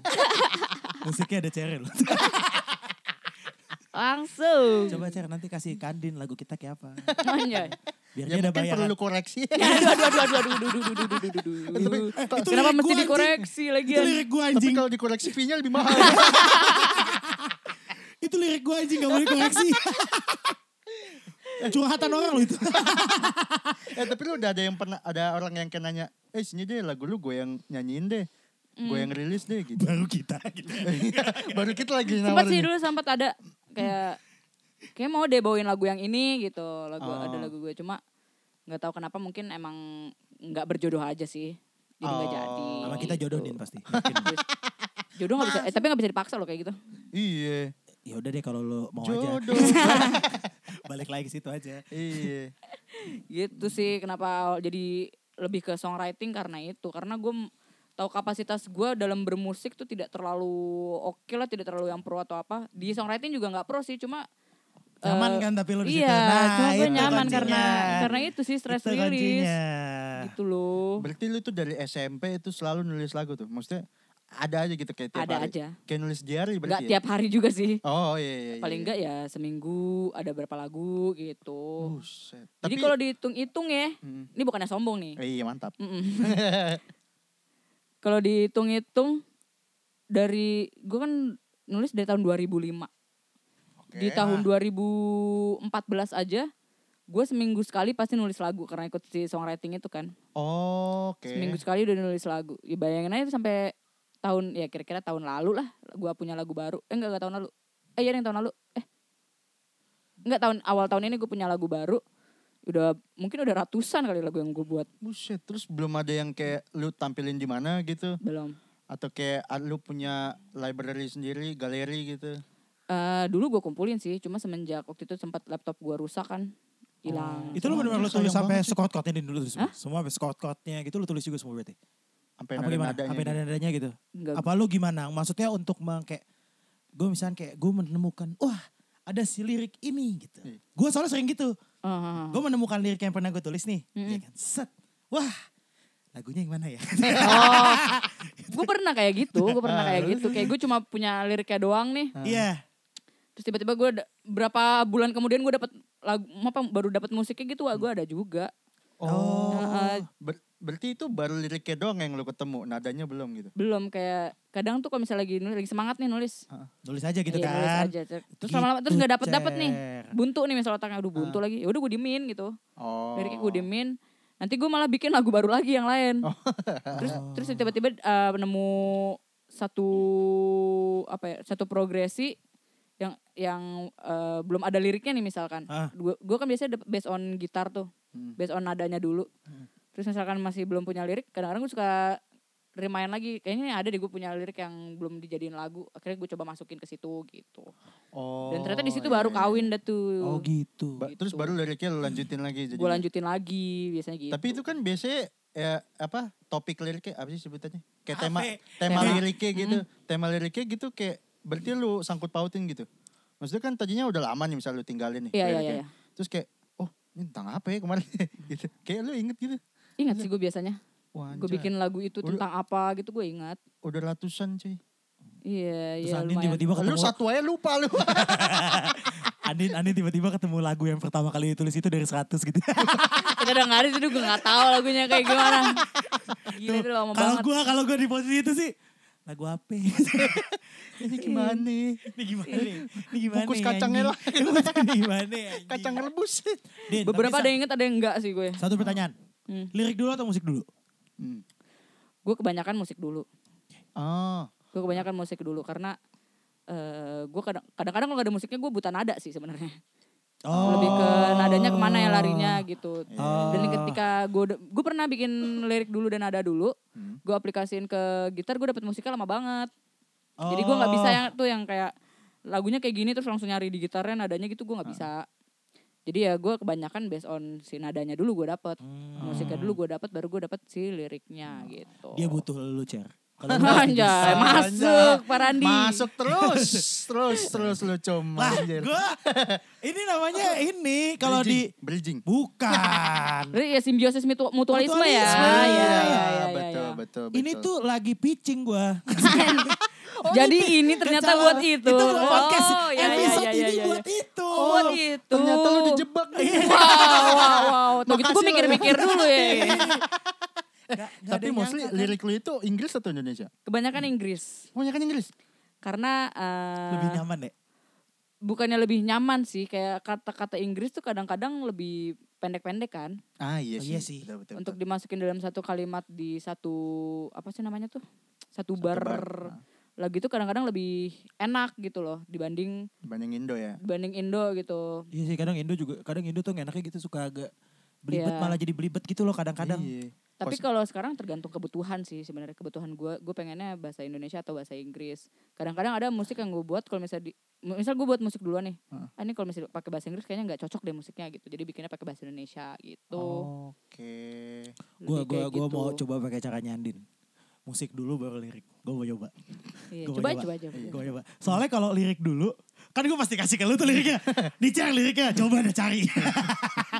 Musiknya ada Ceril. Langsung. Coba Cer nanti kasih Kandin lagu kita kayak apa. Anjay. Biar Ya dia ada Iya, mungkin bayaran. perlu koreksi. Aduh, aduh, aduh, aduh, aduh, aduh, aduh, aduh, aduh, aduh, aduh. Eh, itu Kenapa lirik mesti gua, dikoreksi lagi? ya? Itu lirik gue Tapi anjing. kalau dikoreksi fee-nya lebih mahal. Itu lirik gue anjing gak boleh [LAUGHS] koreksi. Curhatan orang loh itu. Eh tapi lu udah ada yang pernah ada orang yang kayak nanya, eh sini deh lagu lu gue yang nyanyiin deh, Hmm. gue yang rilis deh gitu. [LAUGHS] [LAUGHS] Baru kita gitu. Baru kita lagi Sempat sih Iya. nawarin. dulu sempat ada kayak kayak mau deh bawain lagu yang ini gitu. Lagu Oh. ada lagu gue cuma nggak tahu kenapa mungkin emang nggak berjodoh aja sih. Jadi nggak Oh. jadi. Gitu. Sama kita jodoh Din pasti. Yakin. Jodoh nggak bisa, eh, tapi nggak bisa dipaksa loh kayak gitu. Iya. Ya udah deh kalau lo mau aja. Jodoh. [LAUGHS] Balik lagi ke situ aja. iya. gitu sih kenapa jadi lebih ke songwriting karena itu karena gue m- tahu kapasitas gue dalam bermusik tuh tidak terlalu oke lah tidak terlalu yang pro atau apa di songwriting juga nggak pro sih cuma Nyaman eh, kan tapi lo di situ. iya cuma gue itu nyaman kuncinya. karena karena itu sih stress Itu release kuncinya. gitu loh Berarti lu tuh dari SMP itu selalu nulis lagu tuh. Maksudnya ada aja gitu kayak tiap Ada hari. aja. Kayak nulis diary nggak berarti. ya? tiap hari juga sih Oh iya iya. iya. paling nggak ya seminggu ada berapa lagu gitu jadi Buset. Uh, Tapi kalau dihitung-hitung ya Mm. ini bukannya sombong nih Eh, iya mantap. Mm-mm. Kalau dihitung-hitung dari gue kan nulis dari tahun 2005. Oke. Di tahun 2014 aja gue seminggu sekali pasti nulis lagu karena ikut si songwriting itu kan. Oke. Seminggu sekali udah nulis lagu. Ya bayangin aja sampai tahun ya kira-kira tahun lalu lah gue punya lagu baru. Eh enggak enggak tahun lalu. Eh iya yang tahun lalu. Eh enggak tahun awal tahun ini gue punya lagu baru. Udah mungkin udah ratusan kali lagu yang gue buat Buset, terus belum ada yang kayak lu tampilin di mana gitu belum. atau kayak ah, lu punya library sendiri, galeri gitu. Eh, dulu gue kumpulin sih, cuma semenjak waktu itu sempat laptop gue rusak kan, hilang. Itu lo benar-benar lo tulis Sayang sampai banget sih. sekot-kotnya Din, dulu tulis semua. Semua sampai sekot-kotnya gitu lo tulis juga semua berarti. Sampai apa gimana? Apa nada-nadanya. nada-nadanya gitu. Enggak. Apa lu gimana? Maksudnya untuk meng kayak gue misalnya kayak gue menemukan wah ada si lirik ini gitu. Iya. Gue soalnya sering gitu. Ah, Gue menemukan lirik yang pernah gue tulis nih. Ya kan? Set. Wah lagunya yang mana [LAUGHS] ya? Iya. gue pernah kayak gitu, gue pernah kayak gitu. Kayak gue cuma punya liriknya doang nih. Iya. Terus tiba-tiba gue da- berapa bulan kemudian gue dapat lagu, apa baru dapat musiknya gitu, wah Hmm. gue ada juga. Oh. Ah, ah, Ber- berarti itu baru liriknya doang yang lu ketemu, nadanya belum gitu. belum kayak kadang tuh kalau misalnya lagi nulis, lagi semangat nih nulis. Nulis aja gitu Iya, kan. nulis aja. Cer. Terus Gitu, lama-lama terus nggak dapat dapat nih. Cer. Buntu nih misalnya otaknya aduh buntu lagi. Ya udah gue diemin gitu. Oh. Liriknya gue diemin Nanti gue malah bikin lagu baru lagi yang lain. Oh. terus terus tiba-tiba eh, nemu satu apa ya, satu progresi yang yang eh, belum ada liriknya nih misalkan. Ah. Gue gue kan biasanya de- based on gitar tuh. Hmm. Based on nadanya dulu. Terus misalkan masih belum punya lirik, kadang-kadang gue suka remind lagi kayaknya ada deh gue punya lirik yang belum dijadiin lagu akhirnya gue coba masukin ke situ gitu Oh. dan ternyata di situ iya, baru iya. kawin dah tuh Oh gitu. Ba- Terus gitu. baru liriknya lu lanjutin lagi jadi. gue lanjutin lagi biasanya gitu Tapi itu kan biasanya ya apa topik liriknya apa sih sebutannya? Kayak Apa? tema tema Tema. liriknya gitu. Tema liriknya gitu kayak berarti lu sangkut pautin gitu. Maksudnya kan tadinya udah lama nih misalnya lu tinggalin nih. Iya, iya, liriknya. iya. Terus kayak oh ini tentang apa ya kemarin [LAUGHS] gitu. Kayak lu inget gitu. Iya. ingat sih gue biasanya Wah, gue anjay, bikin lagu itu Udah- tentang apa gitu gue ingat udah ratusan cuy. iya Terus iya Andin lumayan tiba-tiba ketemu Lu satu aja [LAUGHS] lupa lu. [LAUGHS] Andin Andin tiba-tiba ketemu lagu yang pertama kali ditulis itu dari 100 gitu. [LAUGHS] [LAUGHS] kita udah nggak ada itu gue nggak tahu lagunya kayak [LAUGHS] gimana gila itu lama kalau banget gua kalau gua di posisi itu sih lagu apa? ya?" ini ini gimana? gimana? nih? Ini gimana? Kukus kacangnya anjing? lah. [LAUGHS] Ini gimana? anjing? Kacang rebus. Din, beberapa ada tapi yang inget ada yang enggak sih gue sa- Satu pertanyaan. Hmm. Lirik dulu atau musik dulu? Hmm. gue kebanyakan musik dulu Ah, gue kebanyakan musik dulu karena eh gue kadang- kadang-kadang kalau gak ada musiknya gue buta nada sih sebenarnya lebih ke nadanya kemana ya larinya gitu dan Oh. ketika gue gue pernah bikin lirik dulu dan nada dulu Hmm. gue aplikasiin ke gitar gue dapet musiknya lama banget jadi gue nggak bisa yang tuh yang kayak lagunya kayak gini terus langsung nyari di gitarnya nadanya gitu gue nggak bisa jadi ya gue kebanyakan based on si nadanya dulu gue dapet musiknya dulu gue dapet baru gue dapet si liriknya gitu [LAUGHS] Dia butuh lu, Cer. Kalau lu- Anjay, masuk Pak Randi. masuk terus, terus, terus lu cuma. Lah, anjir. gua ini namanya ini kalau di bridging. bukan. Jadi ya simbiosis mutu- mutualisme, ya. Mutualisme. Ya, ya, Iya, ya, ya, betul, ya. betul, betul. Ini tuh lagi pitching gua. [LAUGHS] Jadi ini ternyata Oh, Kecala- buat itu. Itu buat podcast. Oh, ya, ya, Episode ya, ya, ini ya, buat itu. Oh, buat itu. ternyata lu dijebak nih. Wow, wow, wow. Tuh gitu gue Makasih loh. mikir-mikir dulu [LAUGHS] ya. Nggak- nggak ada Tapi yang mostly nyangka, kan? lirik lu itu Inggris atau Indonesia? Kebanyakan Inggris. Kebanyakan Inggris. Karena eh, lebih nyaman deh. bukannya lebih nyaman sih. Kayak kata-kata Inggris tuh kadang-kadang lebih pendek-pendek kan. Ah iya Oh, sih. iya sih. Betul, betul, Untuk betul. dimasukin dalam satu kalimat di satu, apa sih namanya tuh? Satu bar. bar, ah. Lagu itu kadang-kadang lebih enak gitu loh. Dibanding, Dibanding Indo ya. dibanding Indo gitu. Iya sih kadang Indo juga kadang Indo tuh nggak enaknya gitu suka agak belibet Iya. malah jadi belibet gitu loh kadang-kadang. Iya. Tapi Pos- kalau sekarang tergantung kebutuhan sih sebenarnya kebutuhan gue. Gue pengennya bahasa Indonesia atau bahasa Inggris. Kadang-kadang ada musik yang gue buat kalau misalnya di, mu- misal gue buat musik duluan nih. Heeh. Ah, ini kalau misalnya pakai bahasa Inggris kayaknya nggak cocok deh musiknya gitu. Jadi bikinnya pakai bahasa Indonesia gitu. Oh. Oke. Lebih Gua gua kayak gua gitu. mau coba pakai caranya Andin. Musik dulu baru lirik. Gua mau coba. Iya, Gua coba mau coba aja. Iya, Gua mau coba. Soalnya kalau lirik dulu kan gue pasti kasih ke lu tuh liriknya. Nih Cer liriknya, coba deh cari.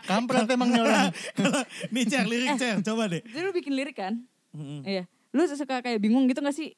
Kampret emang nih [LAUGHS] orang. Kalau, Nih Cer Eh. lirik Cer, coba deh. Jadi lu bikin lirik kan? Mm-mm. Iya. Lu suka kayak bingung gitu gak sih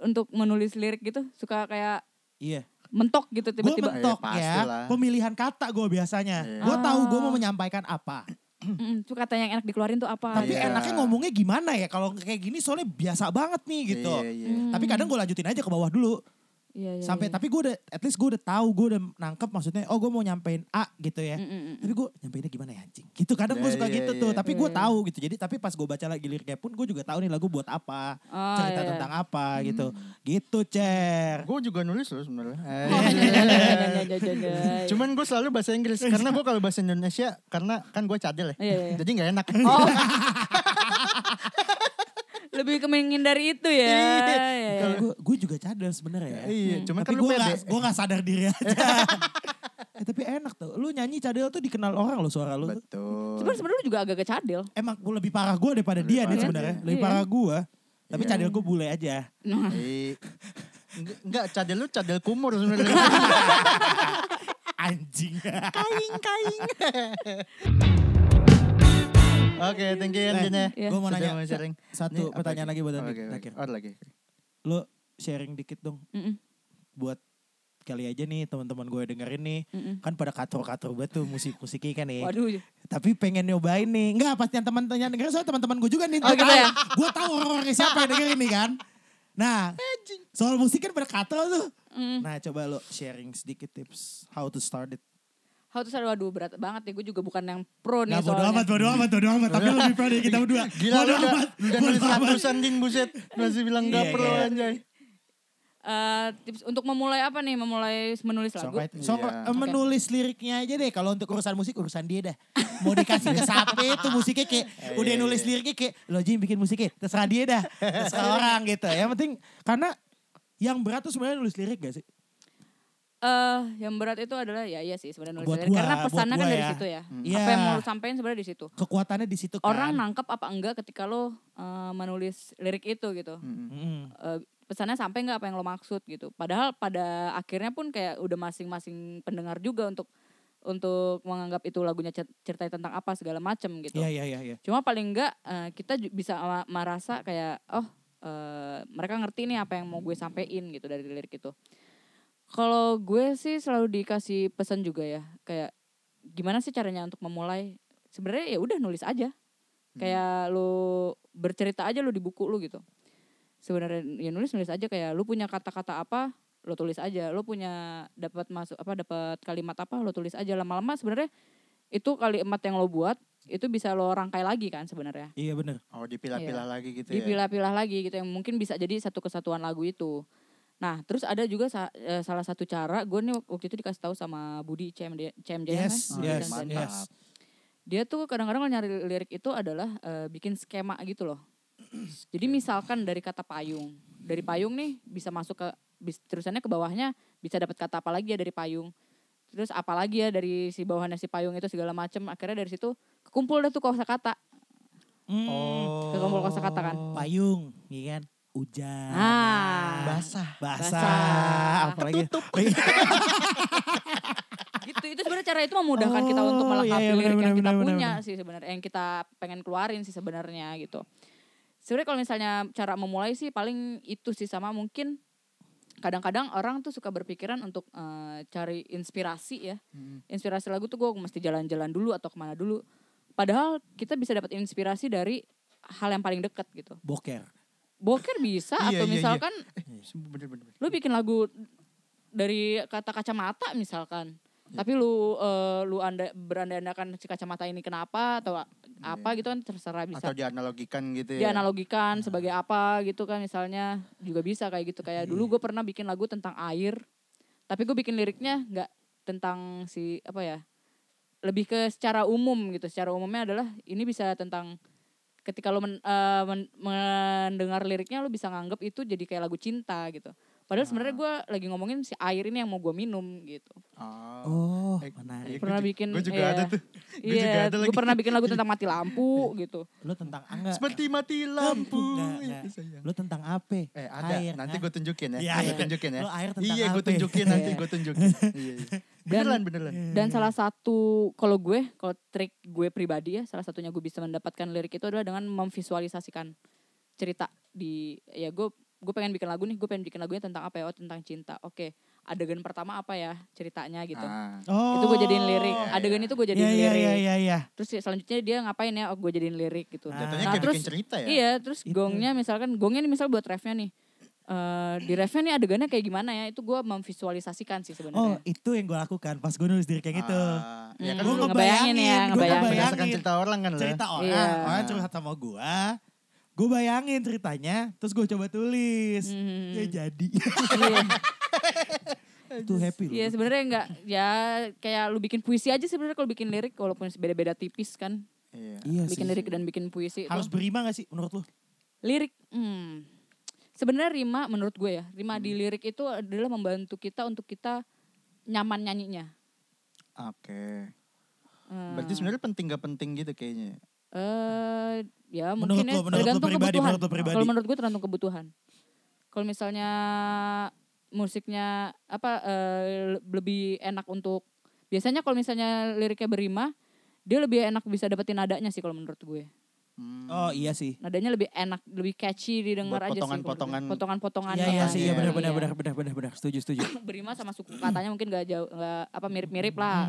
untuk menulis lirik gitu? Suka kayak Iya. mentok gitu Gue tiba-tiba. men- mentok Iya, ya, pastilah. pemilihan kata gue biasanya. Iya. Gue tahu gue Oh. mau menyampaikan apa. Mm-mm, Tuh kata yang enak dikeluarin tuh apa? Tapi Iya. enaknya ngomongnya gimana ya? Kalau kayak gini soalnya biasa banget nih gitu. Iya, iya. Tapi kadang gue lanjutin aja ke bawah dulu. Hmm. Iya, iya, sampai iya. tapi gue udah at least gue udah tahu gue udah nangkep maksudnya oh gue mau nyampein A gitu ya Mm-mm. tapi gue nyampeinnya gimana ya anjing gitu kadang gue Iya, suka iya, gitu iya. tuh tapi gue mm. Iya. tahu gitu jadi tapi pas gue baca lagi liriknya pun gue juga tahu nih lagu buat apa Ah, cerita iya. Hmm. tentang apa gitu gitu cer Gue juga nulis loh sebenarnya. Eh, Oh, [LAUGHS] iya, iya, iya, iya, iya, iya, iya. Cuman gue selalu bahasa Inggris karena gue kalau bahasa Indonesia karena kan gue cadel ya. Iya, iya, iya. Jadi nggak enak. Oh. Lebih ke menghindari itu ya. Iya. ya, ya. gue gue juga cadel sebenarnya ya Iya, Hmm. cuman kan tapi lu gue pede. gak, gue gak sadar [LAUGHS] diri aja Eh, tapi enak tuh lu nyanyi cadel tuh dikenal orang loh suara lu tuh. Betul. Cuman sebenarnya lu juga agak kecadil. emang gue lebih parah gue daripada dia parah nih dia. sebenarnya lebih Iya. parah gue tapi Iya. cadel gue bule aja Eh, nggak- Nggak, cadel lu cadel kumur [LAUGHS] sebenarnya. anjing [LAUGHS] kaing, kaing. Oke, thank you Anjin ya. Iya. Gue mau Sudah nanya mau sharing. Ini satu apa pertanyaan lagi buat Oke, Andi oke. terakhir. Oh, ada lagi. Lo sharing dikit dong [LAUGHS] Mm-mm, buat kali aja nih teman-teman gue dengerin nih. mm-mm. Kan pada kator-kator banget tuh musik-musiknya kan nih. Waduh. Tapi pengen nyobain nih. Enggak pasti yang teman-teman yang dengerin soalnya teman-teman gue juga nih. Oh, gitu ya? Gue tahu orang-orangnya siapa yang dengerin nih kan. Nah soal musik kan pada kator tuh. Mm. Nah coba lo sharing sedikit tips how to start it. How to Sell waduh berat banget nih gue juga bukan yang pro nih Nah bodo soalnya. amat, bodo amat, bodo amat. Tapi lebih pro dari kita berdua. Gila bodo lu udah, amat, udah bodo nulis amat. ratusan ding buset. Masih bilang gak Iya, perlu iya. anjay. Eh, tips untuk memulai apa nih? Memulai menulis lagu. Songwriting. Song- Iya. eh, menulis liriknya aja deh. Kalau untuk urusan musik urusan dia dah. Mau dikasih ke [LAUGHS] sapi itu musiknya kayak udah nulis liriknya kayak lo Jim bikin musiknya terserah dia dah, terserah orang gitu. Yang penting karena yang berat tuh sebenarnya nulis lirik gak sih? Eh, yang berat itu adalah ya iya sih sebenarnya nulis Buat sendiri. gua, karena buat pesannya gua kan dari ya. situ ya. Hmm. Apa yang Iya. mau lu sampein sebenarnya di situ. Kekuatannya di situ kan. Orang nangkep apa enggak ketika lo eh, menulis lirik itu gitu. Mm-mm. Eh, pesannya sampai nggak apa yang lo maksud gitu. Padahal pada akhirnya pun kayak udah masing-masing pendengar juga untuk untuk menganggap itu lagunya cer- ceritanya tentang apa segala macem gitu. Iya iya iya. iya. Cuma paling enggak eh, kita ju- bisa ma- merasa kayak oh eh, mereka ngerti nih apa yang mau gue sampein gitu dari lirik itu. Kalau gue sih selalu dikasih pesan juga ya kayak gimana sih caranya untuk memulai? Sebenarnya ya udah nulis aja. Hmm. Kayak lu bercerita aja lu di buku lu gitu. Sebenarnya ya nulis nulis aja kayak lu punya kata-kata apa lo tulis aja. Lu punya dapat masuk apa dapat kalimat apa lo tulis aja lama-lama sebenarnya itu kalimat yang lo buat itu bisa lo rangkai lagi kan sebenarnya Iya bener. Oh Iya. dipilah-pilah lagi gitu ya. dipilah-pilah lagi gitu yang mungkin bisa jadi satu kesatuan lagu itu nah terus ada juga sa- eh, salah satu cara gue nih waktu itu dikasih tahu sama Budi CMD CMJM ya, Yes, Budi yes, Tanjani. yes. dia tuh kadang-kadang kalau nyari lirik itu adalah eh, bikin skema gitu loh jadi misalkan dari kata payung dari payung nih bisa masuk ke bis- terusannya ke bawahnya bisa dapat kata apa lagi ya dari payung terus apa lagi ya dari si bawahannya si payung itu segala macem akhirnya dari situ kekumpul deh tuh kosakata Oh. Kekumpul kosakata kan. Payung, iya kan? Hujan. Ah. Basah. Basah. Basah. Apalagi. gitu itu sebenarnya cara itu memudahkan kita untuk Oh, melengkapi iya, iya, lirik benar, yang kita benar, benar, punya benar. sih sebenarnya yang kita pengen keluarin sih sebenarnya gitu sebenarnya kalau misalnya cara memulai sih paling itu sih sama mungkin kadang-kadang orang tuh suka berpikiran untuk eh, cari inspirasi ya Hmm. inspirasi lagu tuh gue mesti jalan-jalan dulu atau kemana dulu padahal kita bisa dapat inspirasi dari hal yang paling dekat gitu [LAUGHS] Boker. boker bisa atau Iya, iya, iya. misalkan Bener-bener. lu bikin lagu dari kata kacamata misalkan tapi lu eh, lu anda berandai-andakan si kacamata ini kenapa atau a- apa gitu kan terserah bisa Atau dianalogikan gitu ya. dianalogikan sebagai apa gitu kan misalnya juga bisa kayak gitu kayak dulu gue pernah bikin lagu tentang air tapi gue bikin liriknya nggak tentang si apa ya lebih ke secara umum gitu secara umumnya adalah ini bisa tentang ketika lo men- eh, men- mendengar liriknya lo bisa nganggep itu jadi kayak lagu cinta gitu padahal sebenarnya gue Ah. lagi ngomongin si air ini yang mau gue minum gitu Oh, Oh. Eh, menarik. Gue pernah ju- bikin gue juga iya. ada tuh. Gue juga iya ada gue lagi. pernah bikin [LAUGHS] lagu tentang mati lampu gitu Lu tentang angga. Seperti mati lampu. Iya, Nggak, nggak. itu sayang. Lu tentang apa? Eh ada, Air, nanti ah. gue tunjukin ya. Iya, Gue iya. tunjukin ya. Lo air tentang Iya, gue apa? tunjukin nanti, Iya. gue tunjukin. Iya, iya. Beneran, beneran. Dan salah satu kalau gue, kalau trik gue pribadi ya, salah satunya gue bisa mendapatkan lirik itu adalah dengan memvisualisasikan cerita di ya gue gue pengen bikin lagu nih, gue pengen bikin lagunya tentang apa ya? Oh, tentang cinta. Oke, adegan pertama apa ya ceritanya gitu. Ah. Oh. Itu gue jadiin lirik. Adegan itu Iya, gue jadiin iya, lirik. iya, iya, iya. Terus ya selanjutnya dia ngapain ya? Oh, gue jadiin lirik gitu. Nah, Ah. Jatuhnya kayak bikin cerita ya. Iya, terus Itu. gongnya misalkan gongnya nih misal buat refnya nih. eh, di refnya nih adegannya kayak gimana ya? Itu gue memvisualisasikan Oh, sih sebenarnya. itu yang gue lakukan pas gue nulis lirik kayak gitu. Ah, Ya Hmm. kan lu Gue lu ngebayangin ngebayangin, ya, gue ngebayangin. berdasarkan Iya. cerita orang kan lo. cerita orang, Iya. orang curhat sama gue. Gue bayangin ceritanya, terus gue coba tulis. Hmm. Mhm. Ya jadi. Iya. [LAUGHS] itu happy loh. Iya sebenarnya enggak ya kayak lu bikin puisi aja sebenarnya kalau bikin lirik walaupun beda-beda tipis kan Iya. Iya bikin sih. lirik dan bikin puisi itu. Harus berima gak sih menurut lu? lirik hmm. sebenarnya rima menurut gue ya rima Hmm. di lirik itu adalah membantu kita untuk kita nyaman nyanyinya Oke. Hmm. Berarti sebenarnya penting gak penting gitu kayaknya. eh ya Menurut mungkin ya lo- menurut lo tergantung pribadi, kebutuhan menurut lo pribadi. kalau menurut gue tergantung kebutuhan kalau misalnya musiknya apa eh, le- lebih enak untuk biasanya kalau misalnya liriknya berima dia lebih enak bisa dapetin nadanya sih kalau menurut gue Hmm. Oh iya sih. nadanya lebih enak lebih catchy didengar Buat aja sih potongan-potongan- potongan potongannya Iya iya sih, iya Iya. benar benar benar benar benar benar. Setuju setuju. berima sama suku katanya mungkin gak jauh nggak apa mirip-mirip Hmm, lah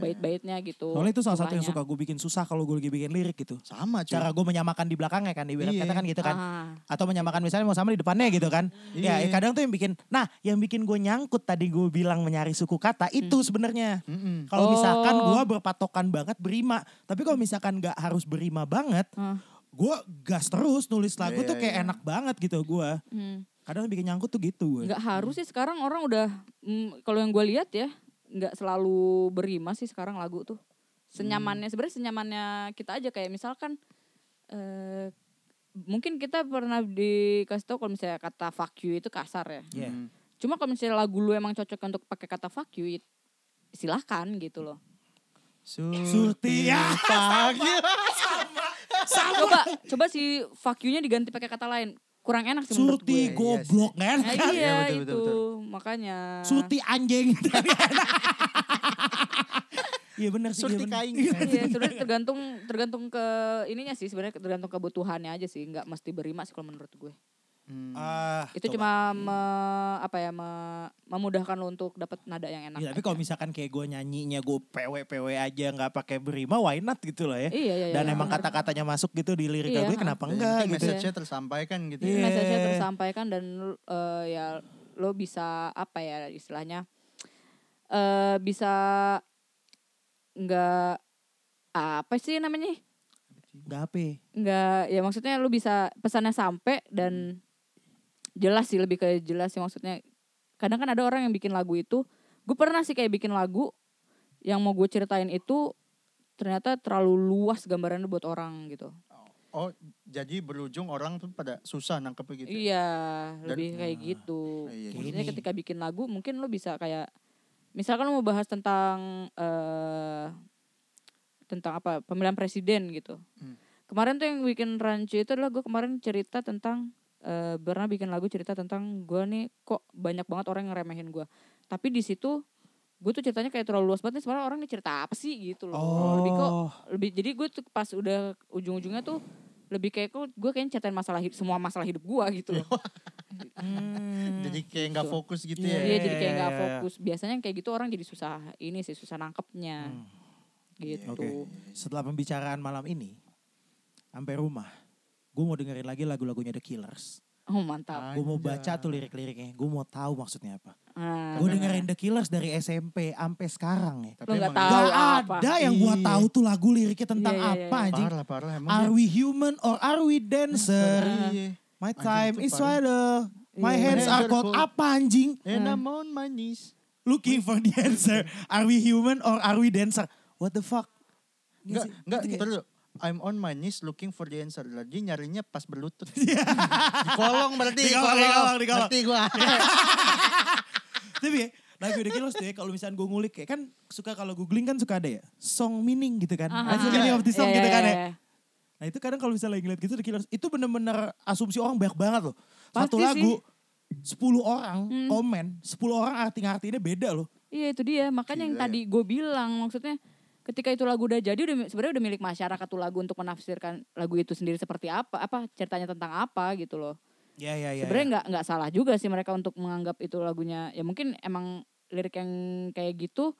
bait-baitnya gitu Soalnya itu salah satu yang Sukanya. suka gue bikin susah kalau gue lagi bikin lirik gitu. Sama cuy. Cara gue menyamakan di belakangnya kan, ibarat Iya. kata kan gitu kan. Ah. Atau menyamakan misalnya mau sama di depannya gitu kan. Ya Iya. kadang tuh yang bikin, nah yang bikin gue nyangkut tadi gue bilang menyari suku Hmm. kata itu sebenarnya. Mm-mm. Kalau misalkan Oh. gue berpatokan banget berima, tapi kalau misalkan gak harus berima banget, Ah. gue gas terus nulis lagu Iya, tuh iya, kayak iya. enak banget gitu gue. Hmm. Kadang bikin nyangkut tuh gitu gue. nggak harus sih sekarang orang udah mm, kalau yang gue lihat ya nggak selalu berima sih sekarang lagu tuh senyamannya Hmm. sebenarnya senyamannya kita aja kayak misalkan eh mungkin kita pernah dikasih tau kalau misalnya kata fuck you itu kasar ya Iya. Mm. cuma kalau misalnya lagu lu emang cocok untuk pakai kata fuck you it- silakan gitu loh Hmm. Surti, Iya, [LAUGHS] ya, pagi. coba coba si fuck you-nya diganti pakai kata lain kurang enak sih menurut Surti gue gue. Iya sih. goblok kan. Nah, Iya, iya betul, itu betul, betul. makanya Surti [LAUGHS] anjing. Iya benar sih. iya Surti benar. kain. Iya, sebenarnya tergantung tergantung ke ininya sih sebenarnya tergantung kebutuhannya aja sih, nggak mesti berima sih kalau menurut gue. Hmm. Ah, Itu coba. cuma me- apa ya me- memudahkan lo untuk dapat nada yang enak. Ya, tapi kalau aja. misalkan kayak gue nyanyinya gue pw pw aja nggak pakai berima why not gitu loh ya. Iya, iya, iya, Dan emang benar. kata-katanya masuk gitu di lirik Iya, gue ha. kenapa Dan yang enggak penting gitu. message-nya tersampaikan gitu. Iya. ya. message-nya tersampaikan dan eh, ya lo bisa apa ya istilahnya eh bisa nggak apa sih namanya? Gak apa. Nggak ya maksudnya lo bisa pesannya sampai dan jelas sih lebih ke jelas sih maksudnya kadang kan ada orang yang bikin lagu itu gue pernah sih kayak bikin lagu yang mau gue ceritain itu ternyata terlalu luas gambarannya buat orang gitu Oh, jadi berujung orang tuh pada susah nangkep gitu. ya? iya Dan- lebih kayak gitu Iya, iya, maksudnya gini. ketika bikin lagu mungkin lo bisa kayak misalkan lo mau bahas tentang eh tentang apa pemilihan presiden gitu Hmm. kemarin tuh yang bikin rancu itu adalah gue kemarin cerita tentang eh pernah bikin lagu cerita tentang gue nih kok banyak banget orang yang ngeremehin gue tapi di situ gue tuh ceritanya kayak terlalu luas banget nih sebenarnya orang nih cerita apa sih gitu loh lebih kok [LAUGHS] Oh. lebih jadi gue tuh pas udah ujung-ujungnya tuh lebih kayak kok gue kayaknya ceritain masalah hidup semua masalah hidup gue [LAUGHS] gitu loh Oh, Hmm. Jadi kayak nggak Gitu. fokus gitu Iya, ya. Iya, jadi kayak iya, nggak iya, iya. fokus. Biasanya kayak gitu orang jadi susah ini sih susah nangkepnya. Hmm. Gitu. Oke. Setelah pembicaraan malam ini sampai rumah, gue mau dengerin lagi lagu-lagunya The Killers. Oh, mantap. Gue mau Anjay. baca tuh lirik-liriknya. Gue mau tahu maksudnya apa. Ah, Gue dengerin The Killers dari SMP sampai sekarang ya. Tapi Lo nggak emang tahu Gak apa. ada yang gua Iya. tahu tuh lagu liriknya tentang Iya, iya, iya. apa anjing. Parah, parah emang. Are dia. we human or are we dancer? Iya. My Anjing, time itu is parah. vital. My Iya. hands are cold. Apa anjing? And I'm on my knees. Looking for the answer. Are we human or are we dancer? What the fuck? Iya Enggak, sih? enggak, Gitu gitu kayak- dulu. I'm on my knees looking for the answer. Lah, Dia nyarinya pas berlutut. di kolong berarti. Iya. Di kolong, di kolong, di kolong. Ngerti gua. Tapi ya, lagu The Killers tuh ya kalau misalnya gue ngulik ya kan suka kalau googling kan suka ada ya song meaning gitu kan. Aha. What's the meaning of this song Iya, gitu iya, kan ya. iya. Nah itu kadang kalau misalnya ngeliat gitu The Killers itu bener-bener asumsi orang banyak banget loh. Satu Pasti lagu 10 orang Hmm. komen, 10 orang arti-artinya beda loh. Iya, itu dia. Makanya yang Gila ya. tadi gue bilang maksudnya ketika itu lagu udah jadi udah sebenarnya udah milik masyarakat tuh lagu untuk menafsirkan lagu itu sendiri seperti apa, apa ceritanya tentang apa gitu loh. Ya, Iya iya iya. sebenarnya nggak nggak salah juga sih mereka untuk menganggap itu lagunya ya mungkin emang lirik yang kayak gitu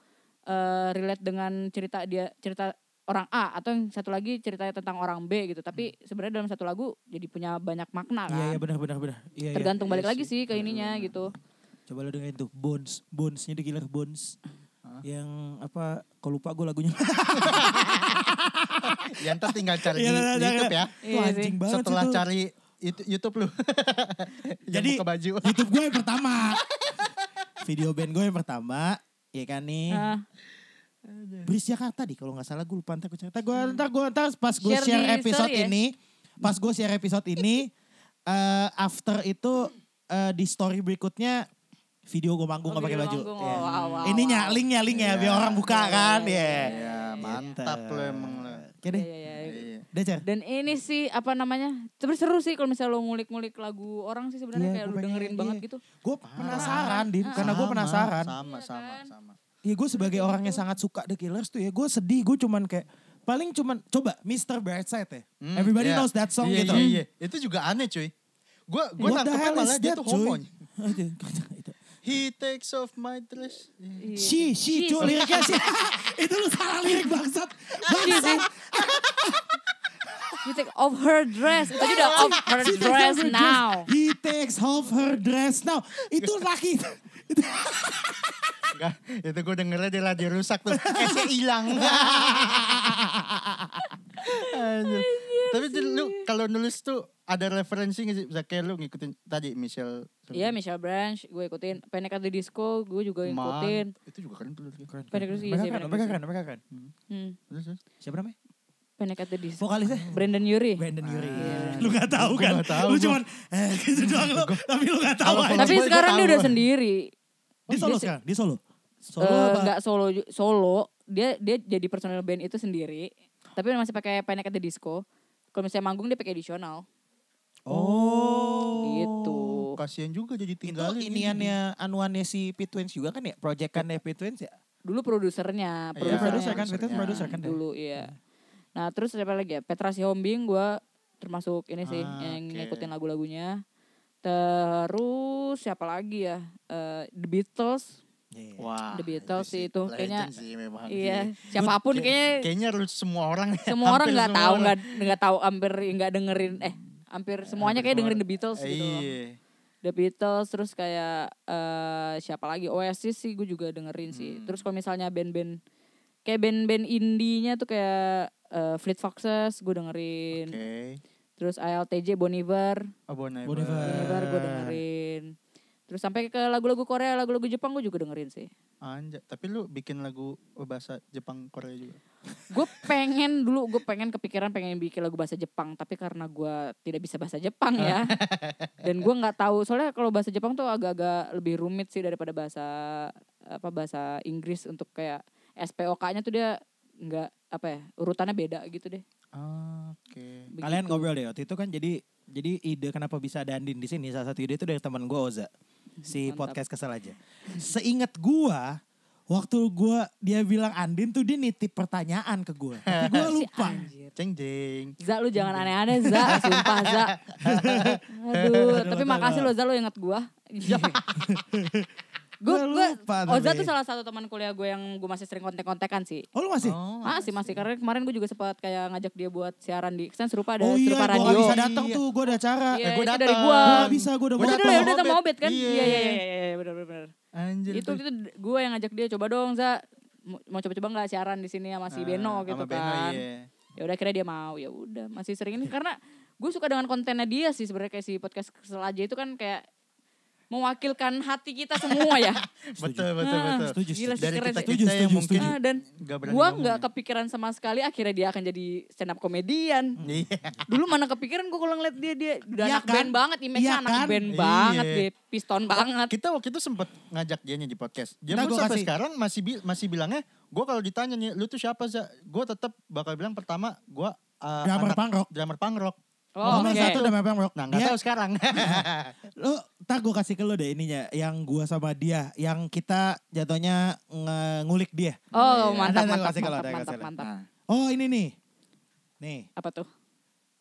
eh relate dengan cerita dia cerita orang A atau yang satu lagi ceritanya tentang orang B gitu tapi sebenarnya dalam satu lagu jadi punya banyak makna kan Hmm. Iya iya benar benar benar. Iya, iya. tergantung Iya balik lagi sih. Hmm. sih ke ininya gitu Coba lo dengerin tuh Bones, Bonesnya The Killer Bones. Yang apa? Kalau lupa gue lagunya. [LAUGHS] Yang ntar tinggal cari di Iya, iya, iya, YouTube iya. ya. Tuh Iya sih. anjing banget sih Setelah tuh. cari itu- YouTube lu. [LAUGHS] Yang Jadi- buka baju. YouTube gue yang pertama. Video band gue yang pertama. Iya kan nih. Ah, Hmm. Bris Jakarta nih kalau nggak salah gue lupa ntar gue cerita gue ntar gue ntar pas gue Share share, di story episode ya? ini pas gue share episode [LAUGHS] ini eh after itu eh, di story berikutnya video gue manggung Oh, nggak pakai video baju manggung. Iya. Oh, wow, wow, ininya wow. Iya, linknya linknya biar orang buka kan ya Ya, mantap lu emang lu. oke deh iya, iya, iya. Iya. Udah, Cer. dan ini sih apa namanya sebenarnya seru sih kalau misalnya lo ngulik-ngulik lagu orang sih sebenarnya Iya, kayak gua lo pengen, dengerin iya. banget gitu gue penasaran din karena gue Sama, penasaran Iya, Sama, sama, sama. Iya, ya gue sebagai orang yang sangat suka The Killers tuh ya gue sedih gue cuman kayak Paling cuman coba Mr. Brightside ya. Hmm, Everybody iya. knows that song Iya, gitu. Iya, iya. Itu juga aneh cuy. Gue gue What the nangkepnya hell is malah dia that, tuh [LAUGHS] homo. cuy? Aduh, itu. He takes off my dress. Iya. Si, si, cuy, liriknya [LAUGHS] si. itu lu salah lirik bangsat. Bangsat. You take off her dress. Itu aja [LAUGHS] udah off her She takes dress off her now. He takes off her dress now. Itu laki. Iya, Itu- Enggak, itu gue dengernya di radio rusak tuh. [LAUGHS] Esnya hilang. Anjir. Tapi di- lu kalau nulis tuh ada referensi nggak sih? Bisa kayak lu ngikutin tadi Michelle. Hmm. Iya Michelle Branch gue ikutin. Panic at the Disco gue juga Man, ikutin. Itu juga keren tuh. liriknya. Pendek dulu iya, sih, Mereka sih, keren, mereka pendek dulu keren, mereka keren. Hmm. Terus, terus. Siapa namanya? Panic at the Disco. Vokalisnya? Brandon Yuri. Brandon Ah. Yuri. Iya. Lu gak tahu Gua kan? nggak tahu, lu gua- cuman eh [LAUGHS] gitu doang lu. Tapi lu gak tahu. aja. Kalau- kalau- Oh, Tapi Gue- gue sekarang dia tahu. udah sendiri. Dia solo Dia- sekarang, dia solo. Solo Eh, apa? nggak solo ju- solo dia dia jadi personal band itu sendiri tapi masih pakai Panic at the Disco kalau misalnya manggung dia pakai additional Oh. gitu Kasian juga jadi Itu iya. tinggalin. iniannya anuannya si Pit Twins juga kan ya? Proyekannya Pit Twins ya? dulu Dia produsernya Iya, produser produsernya kan, Pit Twins produsernya. produser kan. dia. dulu ya? iya Hmm. nah terus siapa lagi ya Petra Sihombing gue termasuk ini sih Ah, yang oke. ngikutin lagu-lagunya terus siapa lagi ya Eh, The [LAUGHS] Beatles Iya. Wah, The Beatles itu sih itu, legend kayaknya. sih memang iya sih. siapapun Kayak- kayaknya kayaknya lu semua orang ya, semua orang hampir nggak semua tahu orang. nggak nggak tahu hampir nggak dengerin eh hampir semuanya kayak dengerin The Beatles gitu loh. Iya. The Beatles terus kayak eh, siapa lagi Oasis sih gue juga dengerin sih terus kalau misalnya band-band kayak band-band indinya tuh kayak eh, Fleet Foxes gue dengerin Oke. terus ALTJ Bon Iver Oh, Bon Iver. Bon Iver. Bon Iver gue dengerin terus sampai ke lagu-lagu Korea lagu-lagu Jepang gue juga dengerin sih Anjay, tapi lu bikin lagu bahasa Jepang Korea juga. gue pengen dulu gue pengen kepikiran pengen bikin lagu bahasa Jepang tapi karena gue tidak bisa bahasa Jepang [LAUGHS] ya dan gue nggak tahu soalnya kalau bahasa Jepang tuh agak-agak lebih rumit sih daripada bahasa apa bahasa Inggris untuk kayak SPOK-nya tuh dia nggak apa ya urutannya beda gitu deh Ah, Oke. Begitu. Kalian ngobrol deh waktu itu kan jadi jadi ide kenapa bisa ada Andin di sini salah satu ide itu dari teman gue Oza si Mantap. podcast kesel aja. Seingat gua waktu gua dia bilang Andin tuh dia nitip pertanyaan ke gua. Tapi gua [LAUGHS] Si lupa. anjir. Ceng jeng. Za lu jangan aneh-aneh [LAUGHS] Za sumpah Za aduh Iya. tapi Aduh, makasih aduh. lo Za lo inget gue [LAUGHS] gue Gua gue lupa Iya. Oza tapi. tuh salah satu teman kuliah gue yang gue masih sering kontek-kontekan sih Oh lu masih? Oh, Masih masih karena Ah, kemarin gue juga sempat kayak ngajak dia buat siaran di kan serupa ada Oh iya, gua serupa gak radio. bisa datang tuh, gua ada acara. Iya, Eh, gua itu datang. dari gua. Gua gak bisa, gua udah Gua mau. Itu datang. dulu ya udah sama Obet. Obet kan? Iya. Iya iya iya iya iya, benar benar. Anjir. Itu itu gue yang ngajak dia coba dong, Za. Mau mau coba-coba nggak siaran di sini sama si Beno gitu kan. Ya udah akhirnya dia mau. Ya udah, masih sering ini karena gue suka dengan kontennya dia sih sebenarnya kayak si podcast kesel aja itu kan kayak mewakilkan hati kita semua ya. Betul, betul, Ah, betul. setuju, Gila sih Dari keren kita sih. Setuju, kita yang setuju, mungkin Ah, dan Iya. nggak berani gua ngomong nggak ya. kepikiran sama sekali akhirnya dia akan jadi stand up komedian. [LAUGHS] Iya. Dulu mana kepikiran gue kalau ngeliat dia dia udah Iya anak kan? band banget, image-nya Iya anak kan? band Iya. banget, dia piston banget. Kita waktu itu sempet ngajak dia di podcast. Dia Ntar pun gua sampai kasih. sekarang masih bi- masih bilangnya, gue kalau ditanya nih, lu tuh siapa sih? Gue tetap bakal bilang pertama, gue uh, Drummer anak- punk rock. drummer punk rock. Oh, Nomor oke. satu udah Iya, memang rock. Nah, nggak Dia- tahu [LAUGHS] sekarang. Lu ntar gue kasih ke lu deh ininya yang gua sama dia yang kita jatuhnya nge- ngulik dia. Iya, Ada, Oh, mantap, ada, mantap, kasih kalau mantap, ada, mantap, kasih mantap. Oh ini nih. Nih, Apa tuh?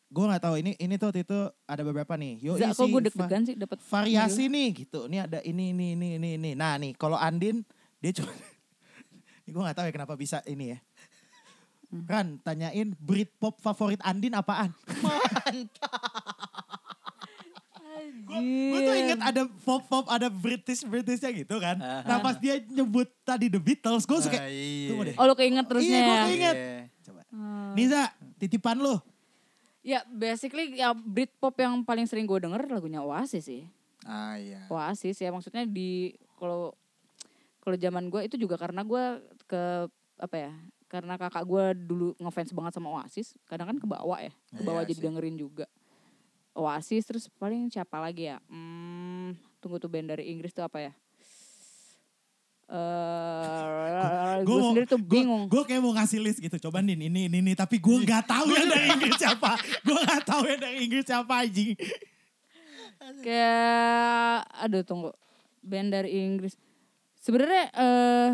gue nggak tahu ini ini tuh waktu itu ada beberapa nih. Yo, Zak, kok gue deg-degan sih dapat variasi nih gitu. Ini ada ini ini ini ini ini. Nah nih kalau Andin dia cuma [LAUGHS] ini gue nggak tahu ya kenapa bisa ini ya. Hmm. Ran tanyain Britpop favorit Andin apaan? [LAUGHS] Iya. Gue tuh inget ada pop pop ada British Britishnya gitu kan. Nah pas dia nyebut tadi The Beatles gue suka. Ah, iya. Tunggu deh. Oh, lo keinget terusnya. Hmm. Iya gue ya? keinget. Iya. Coba. Niza titipan lu. Ya, basically ya Britpop yang paling sering gue denger lagunya Oasis sih. Ah iya. Oasis ya maksudnya di kalau kalau zaman gue itu juga karena gue ke apa ya karena kakak gue dulu ngefans banget sama Oasis kadang kan kebawa ya kebawa Iya jadi dengerin juga Oasis terus paling siapa lagi ya hmm, tunggu tuh band dari Inggris tuh apa ya eh gue sendiri tuh bingung Gue kayak mau ngasih list gitu. Coba nih ini ini ini tapi gue nggak tahu yang [LAUGHS] dari Inggris siapa. Gue nggak tahu yang dari Inggris siapa anjing. kayak aduh tunggu band dari Inggris sebenarnya eh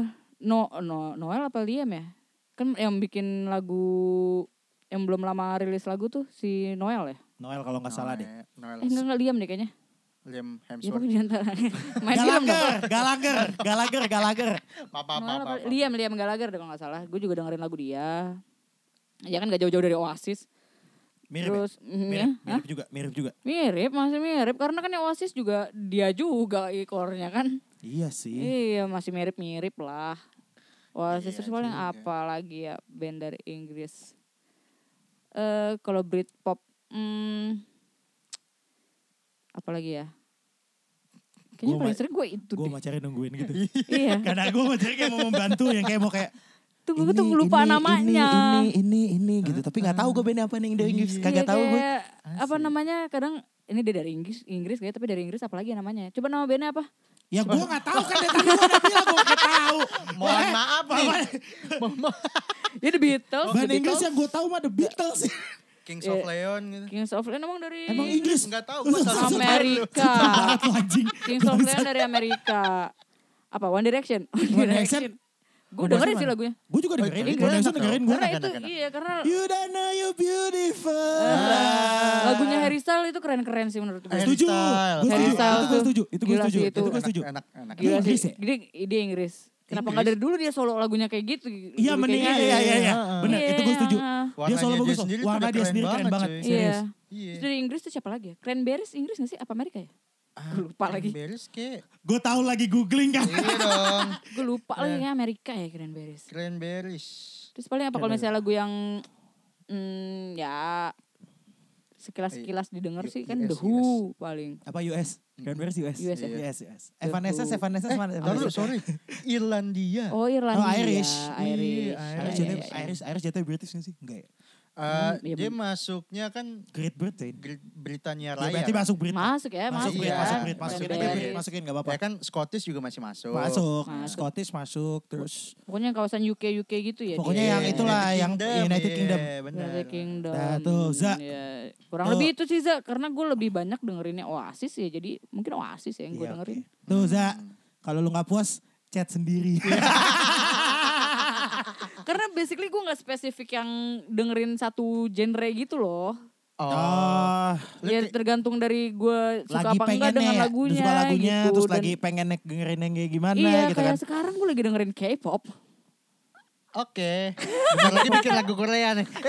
no no Noel apa Liam ya Kan yang bikin lagu yang belum lama rilis lagu tuh si Noel ya? Noel kalau nggak salah deh. Noel, Eh enggak enggak Liam deh kayaknya. Liam Ya Hemsworth. pokoknya di [LAUGHS] antara. Main film dong. Galager, Galager, Galager, Galager. Papa, papa, Iya, Noel apa? papa. Liam Liam Gallagher deh kalau nggak salah. Gue juga dengerin lagu dia. Ya kan gak jauh-jauh dari Oasis. Mirip, ya? Terus mm, ya, mirip, hah? mirip juga, mirip juga. mirip masih mirip karena kan yang Oasis juga dia juga ikornya kan. Iya sih. Iya masih mirip-mirip lah. Oasis Iya terus paling juga. apa lagi ya band dari Inggris. Eh kalau Britpop hmm, apa lagi ya? Kayaknya Gua paling ma- sering gue itu Gue deh. macarin nungguin gitu. Iya. Karena gue macarin kayak mau membantu yang kayak mau kayak. Tuh gue ini, tuh lupa ini, namanya. Ah. Ini, ini, ini, gitu. Tapi nggak tahu gue bandnya apa nih yang dari Inggris. Kagak Iya, tahu gue. kayak Apa namanya kadang ini dia dari Inggris Inggris kayak tapi dari Inggris apalagi ya namanya. Coba nama bandnya [LAUGHS] apa? Ya gue nggak tahu kan dari tadi gue udah bilang gue nggak tahu. Mohon Eh, maaf nih. Mohon maaf. Ya The Oh, Beatles. Band The Inggris Beatles. yang gue tahu mah The Beatles. Kings of Iya. Leon gitu. Kings of Leon emang dari [LAUGHS] Emang Inggris? Nggak tahu, gua [LAUGHS] salah Amerika. Banget lo anjing. Kings of Leon dari Amerika. Apa One Direction? One Direction. Gue One dengerin Direction sih mana? lagunya. Gue juga dengerin. Inggris. Gue dengerin gue. Karena enak, itu enak, enak. iya karena You don't know you're beautiful. Ah. lagunya Harry Styles itu keren-keren sih menurut gue. Ah, Harry Setuju. Styles. Gue Harry setuju. Itu Styles gue tuh. setuju. Itu gue Gila setuju. sih Itu itu. gue setuju. Enak, enak. Gila. Gila Inggris sih. ya? Dia, dia Inggris. Kenapa nggak dari dulu dia solo lagunya kayak gitu? Iya dulu kayak mending gitu. iya iya iya. Benar itu gue setuju. Iya. Dia solo Warnanya bagus. sendiri tuh Warna udah dia sendiri keren banget. cuy. Serius. Iya. Terus Iya. dari Inggris tuh siapa lagi ya? Cranberries Inggris gak sih? Apa Amerika ya? Ah, Gue lupa lagi. Beres kek. Gue tahu lagi googling kan. Iya dong. Gue lupa lagi kayaknya Amerika ya Cranberries. Cranberries. Terus paling apa kalau misalnya lagu yang hmm, ya sekilas-sekilas didengar U- sih kan US, The Who paling. Apa US? Cranberries US. US, ya? US. US. Evanescence, Tuh. Evanescence, Eh, Evanescence. taruh, sorry. Irlandia. Oh Irlandia, Nah. Irish. Irish. Iya, Irish Ya, ya, jatuh, ya, ya. Irish, Irish jatuh British gak sih? Enggak ya? Eh, iya, dia bener. masuknya kan Great Britain. Gr- Ya, Britania Raya. berarti masuk Brit. Masuk ya, Masuk masuk, Brit, Brit, ya. masuk Brit. Masuk Masukin aja Brit. Brit, Cranberries. masukin gak apa-apa. Ya kan Scottish juga masih masuk. Masuk. Masuk. Scottish masuk. Terus Pokoknya kawasan UK UK gitu ya. Pokoknya dia. yang itulah, yang United Kingdom. Iya, benar. United Kingdom. Nah, tuh, Za. Ya, kurang Tuh. lebih itu sih Za, karena gue lebih banyak dengerinnya Oasis ya. Jadi mungkin Oasis ya yang gue Iya, dengerin. Hmm. oke. Tuh Za, kalau lu gak puas, chat sendiri. Karena basically gue nggak spesifik yang dengerin satu genre gitu loh. Oh. [LAUGHS] Oh, Lu Ya kayak- tergantung dari gue suka lagi apa enggak pengennya dengan ya, lagunya. terus suka lagunya, gitu. terus Dan- lagi pengen nek- dengerin yang kayak gimana Iya gitu kayak kan. sekarang gue lagi dengerin K-pop. Oke. Bentar lagi bikin lagu Korea nih. [LAUGHS]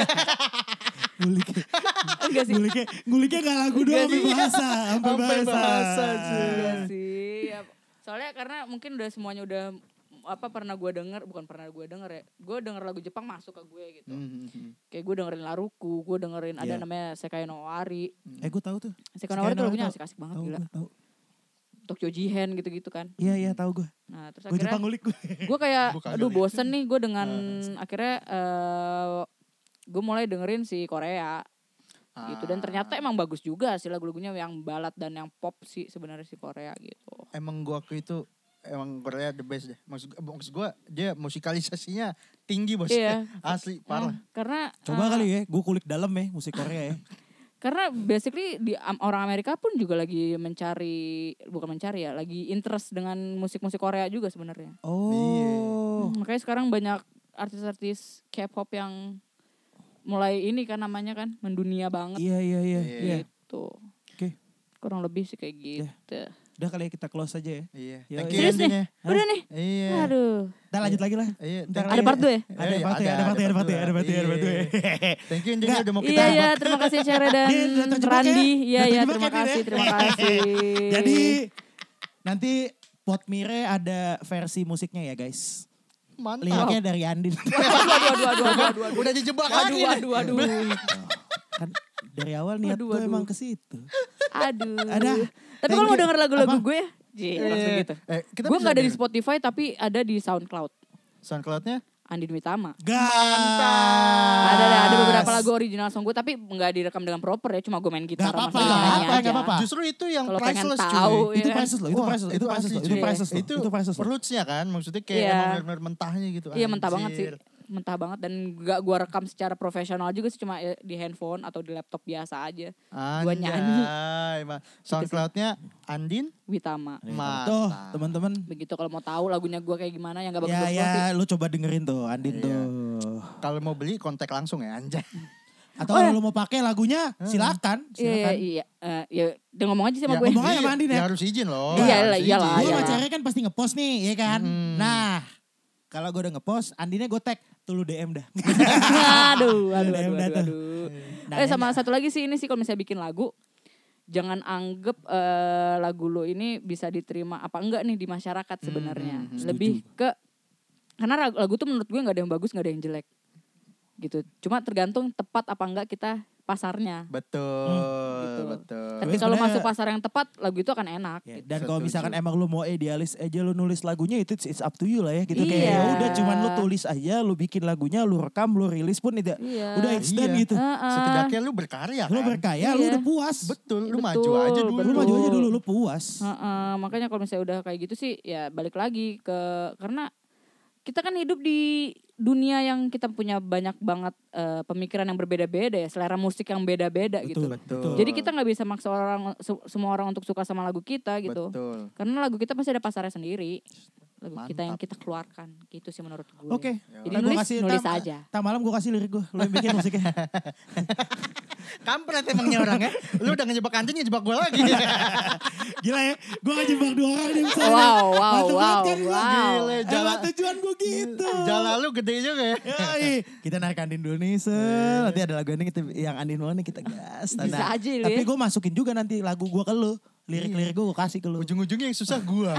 Nguliknya, Enggak sih. nguliknya, nguliknya gak lagu doang, Iya. sampai bahasa. Sampai Sampai bahasa. bahasa, cuy. Enggak Iya sih. ya. Soalnya karena mungkin udah semuanya udah apa pernah gue denger bukan pernah gue denger ya gue denger lagu Jepang masuk ke gue gitu kayak gue dengerin Laruku gue dengerin ada Hmm. Iya. namanya Sekai no Owari Eh gue tahu tuh. Sekai no Owari tuh Sekai no lagunya Owari asik asik banget Tahu gila gue, tahu. Tokyo Jihen gitu-gitu kan Iya, iya tahu gue. nah terus Gue Jepang akhirnya ngulik [LAUGHS] gue. gue kayak Bukan aduh kali. bosen nih gue dengan Nah, akhirnya eh gue mulai dengerin si Korea gitu dan Ah. ternyata emang bagus juga sih lagu-lagunya yang balad dan yang pop sih sebenarnya si Korea gitu Emang gua waktu itu emang Korea the best deh. Maksud, eh, maksud gua dia musikalisasinya tinggi bos. Iya. [LAUGHS] Eh, Asli parah. karena Coba eh, kali ya, gue kulik dalam ya musik Korea ya. [LAUGHS] Karena basically di am- orang Amerika pun juga lagi mencari bukan mencari ya, lagi interest dengan musik-musik Korea juga sebenarnya. Oh. Hmm, Makanya sekarang banyak artis-artis K-pop yang mulai ini kan namanya kan mendunia banget Iya, iya, iya. Iya. iya. gitu. Oke, Kurang lebih sih kayak gitu. udah kali ya kita close aja ya. Iya. Yo, iya. Thank you Serius nih. endingnya. Udah nih. Iya. Aduh. Kita lanjut lagi lah. Iya, Ntar thank lagi Ada you. part dua ya? Iya, Ada part ya, ada part ya, ada part ya, ada part ya, ada part ya. Iya. Thank you endingnya udah mau kita. Iya ya, terima kasih Cera dan Dia udah terjebak ya. Randi. Iya Udah ya, terjebak ya terima dia. kasih, terima kasih. [LAUGHS] Jadi nanti Potmire ada versi musiknya ya guys. Mantap. Liriknya dari [LAUGHS] Andin. aduh aduh aduh aduh aduh aduh. [LAUGHS] Udah dijebak Aduh lagi. nih. aduh aduh. kan dari awal niat Aduh, gue aduh. emang ke situ. Aduh. Ada. Tapi Thank kalau mau you. denger lagu-lagu Apa? gue ya, Jee, langsung Iya. gitu. Eh, kita Gue bisa gak ada di dengerin. Spotify tapi ada di SoundCloud. Soundcloud-nya? Andi Dwitama. Gas. Ada ada ada beberapa lagu original song gue tapi nggak direkam dengan proper ya, cuma gue main gitar Nggak sama apa-apa, nyanyi nggak aja. apa-apa. Eh, Justru itu yang Kalau pengen priceless tahu, cuy. iya Itu kan? priceless loh, itu Wah, priceless, itu itu priceless loh, asli, itu cuy. priceless loh, itu, itu priceless loh. perlutsnya kan maksudnya kayak Iya. emang benar-benar mentahnya gitu Iya mentah banget sih. anjir. Mentah banget dan gak gue rekam secara profesional juga sih cuma ya di handphone atau di laptop biasa aja. Gue nyanyi Anjay, ma- Soundcloud-nya Andin Witama. Iya. Mantap. Gitu Tuh teman-teman. Begitu kalau mau tahu lagunya gue kayak gimana yang Ya gak bagus-bagus ya sih. lu coba dengerin tuh Andin tuh. kalau mau beli kontak langsung ya anjay. Atau Oh, kalau ya. lu mau pakai lagunya silakan, Iya, iya, silakan. iya. Eh, ya, udah ngomong aja sama Ya, gue. ngomong aja iya, sama Andin ya. ya harus izin loh. Iya harus lah, izin. iyalah, Gue sama iyalah. Cere kan pasti ngepost nih, ya kan? Hmm. Nah, kalau gue udah ngepost, Andinnya gue tag, tuh lu DM [LAUGHS] dah. aduh, aduh, Udah, aduh, udah aduh, tuh. aduh. Nah, eh sama satu lagi sih ini sih kalau misalnya bikin lagu jangan anggap eh, lagu lo ini bisa diterima apa enggak nih di masyarakat sebenarnya. hmm, hmm. Lebih ke karena lagu, lagu tuh menurut gue nggak ada yang bagus, nggak ada yang jelek. Gitu. Cuma tergantung tepat apa enggak kita pasarnya. Betul, gitu. betul. Tapi Tapi Eh, kalau sebenarnya- masuk pasar yang tepat, lagu itu akan enak. Ya, gitu. dan kalau Setuju. misalkan emang lu mau idealis aja lu nulis lagunya itu it's- it's up to you lah ya gitu kayak Iya. ya udah cuman lu tulis aja lu bikin lagunya lu rekam lu rilis pun tidak Iya. udah it's done Iya. gitu Heeh. Setidaknya lu berkarya kan. lu berkaya lu Iya. udah puas Betul, lu Betul, maju aja dulu. lu betul. maju aja dulu lu puas Heeh, makanya kalau misalnya udah kayak gitu sih ya balik lagi ke karena kita kan hidup di dunia yang kita punya banyak banget eh, pemikiran yang berbeda-beda ya selera musik yang beda-beda gitu. Betul. Jadi kita nggak bisa maksa orang se- semua orang untuk suka sama lagu kita gitu. Betul. Karena lagu kita pasti ada pasarnya sendiri. Lagu kita yang Mantap. kita keluarkan gitu sih menurut gue. oke Jadi Ntar gua nulis kasih- nulis ntar- aja. ntar malam gue kasih lirik gue lu yang bikin musiknya [LAUGHS] Kampret emangnya orangnya. Lu udah ngejebak anjing ngejebak gue [LAUGHS] lagi. gila ya gue ngejebak dua orang di misalnya Wow, wow, Mantep banget wow, kan gua? wow. Gile, Emang jalan, tujuan gue gitu jalan lu gede juga ya. Yoi. kita narik Andin dulu nih Sel. Iya. Nanti ada lagu ini kita, yang Andin mau nih kita gas. Bisa Nah, aja, Iya. Lil. Tapi gue masukin juga nanti lagu gue ke lu. Lirik-lirik gue kasih ke lu. Ujung-ujungnya yang susah gue.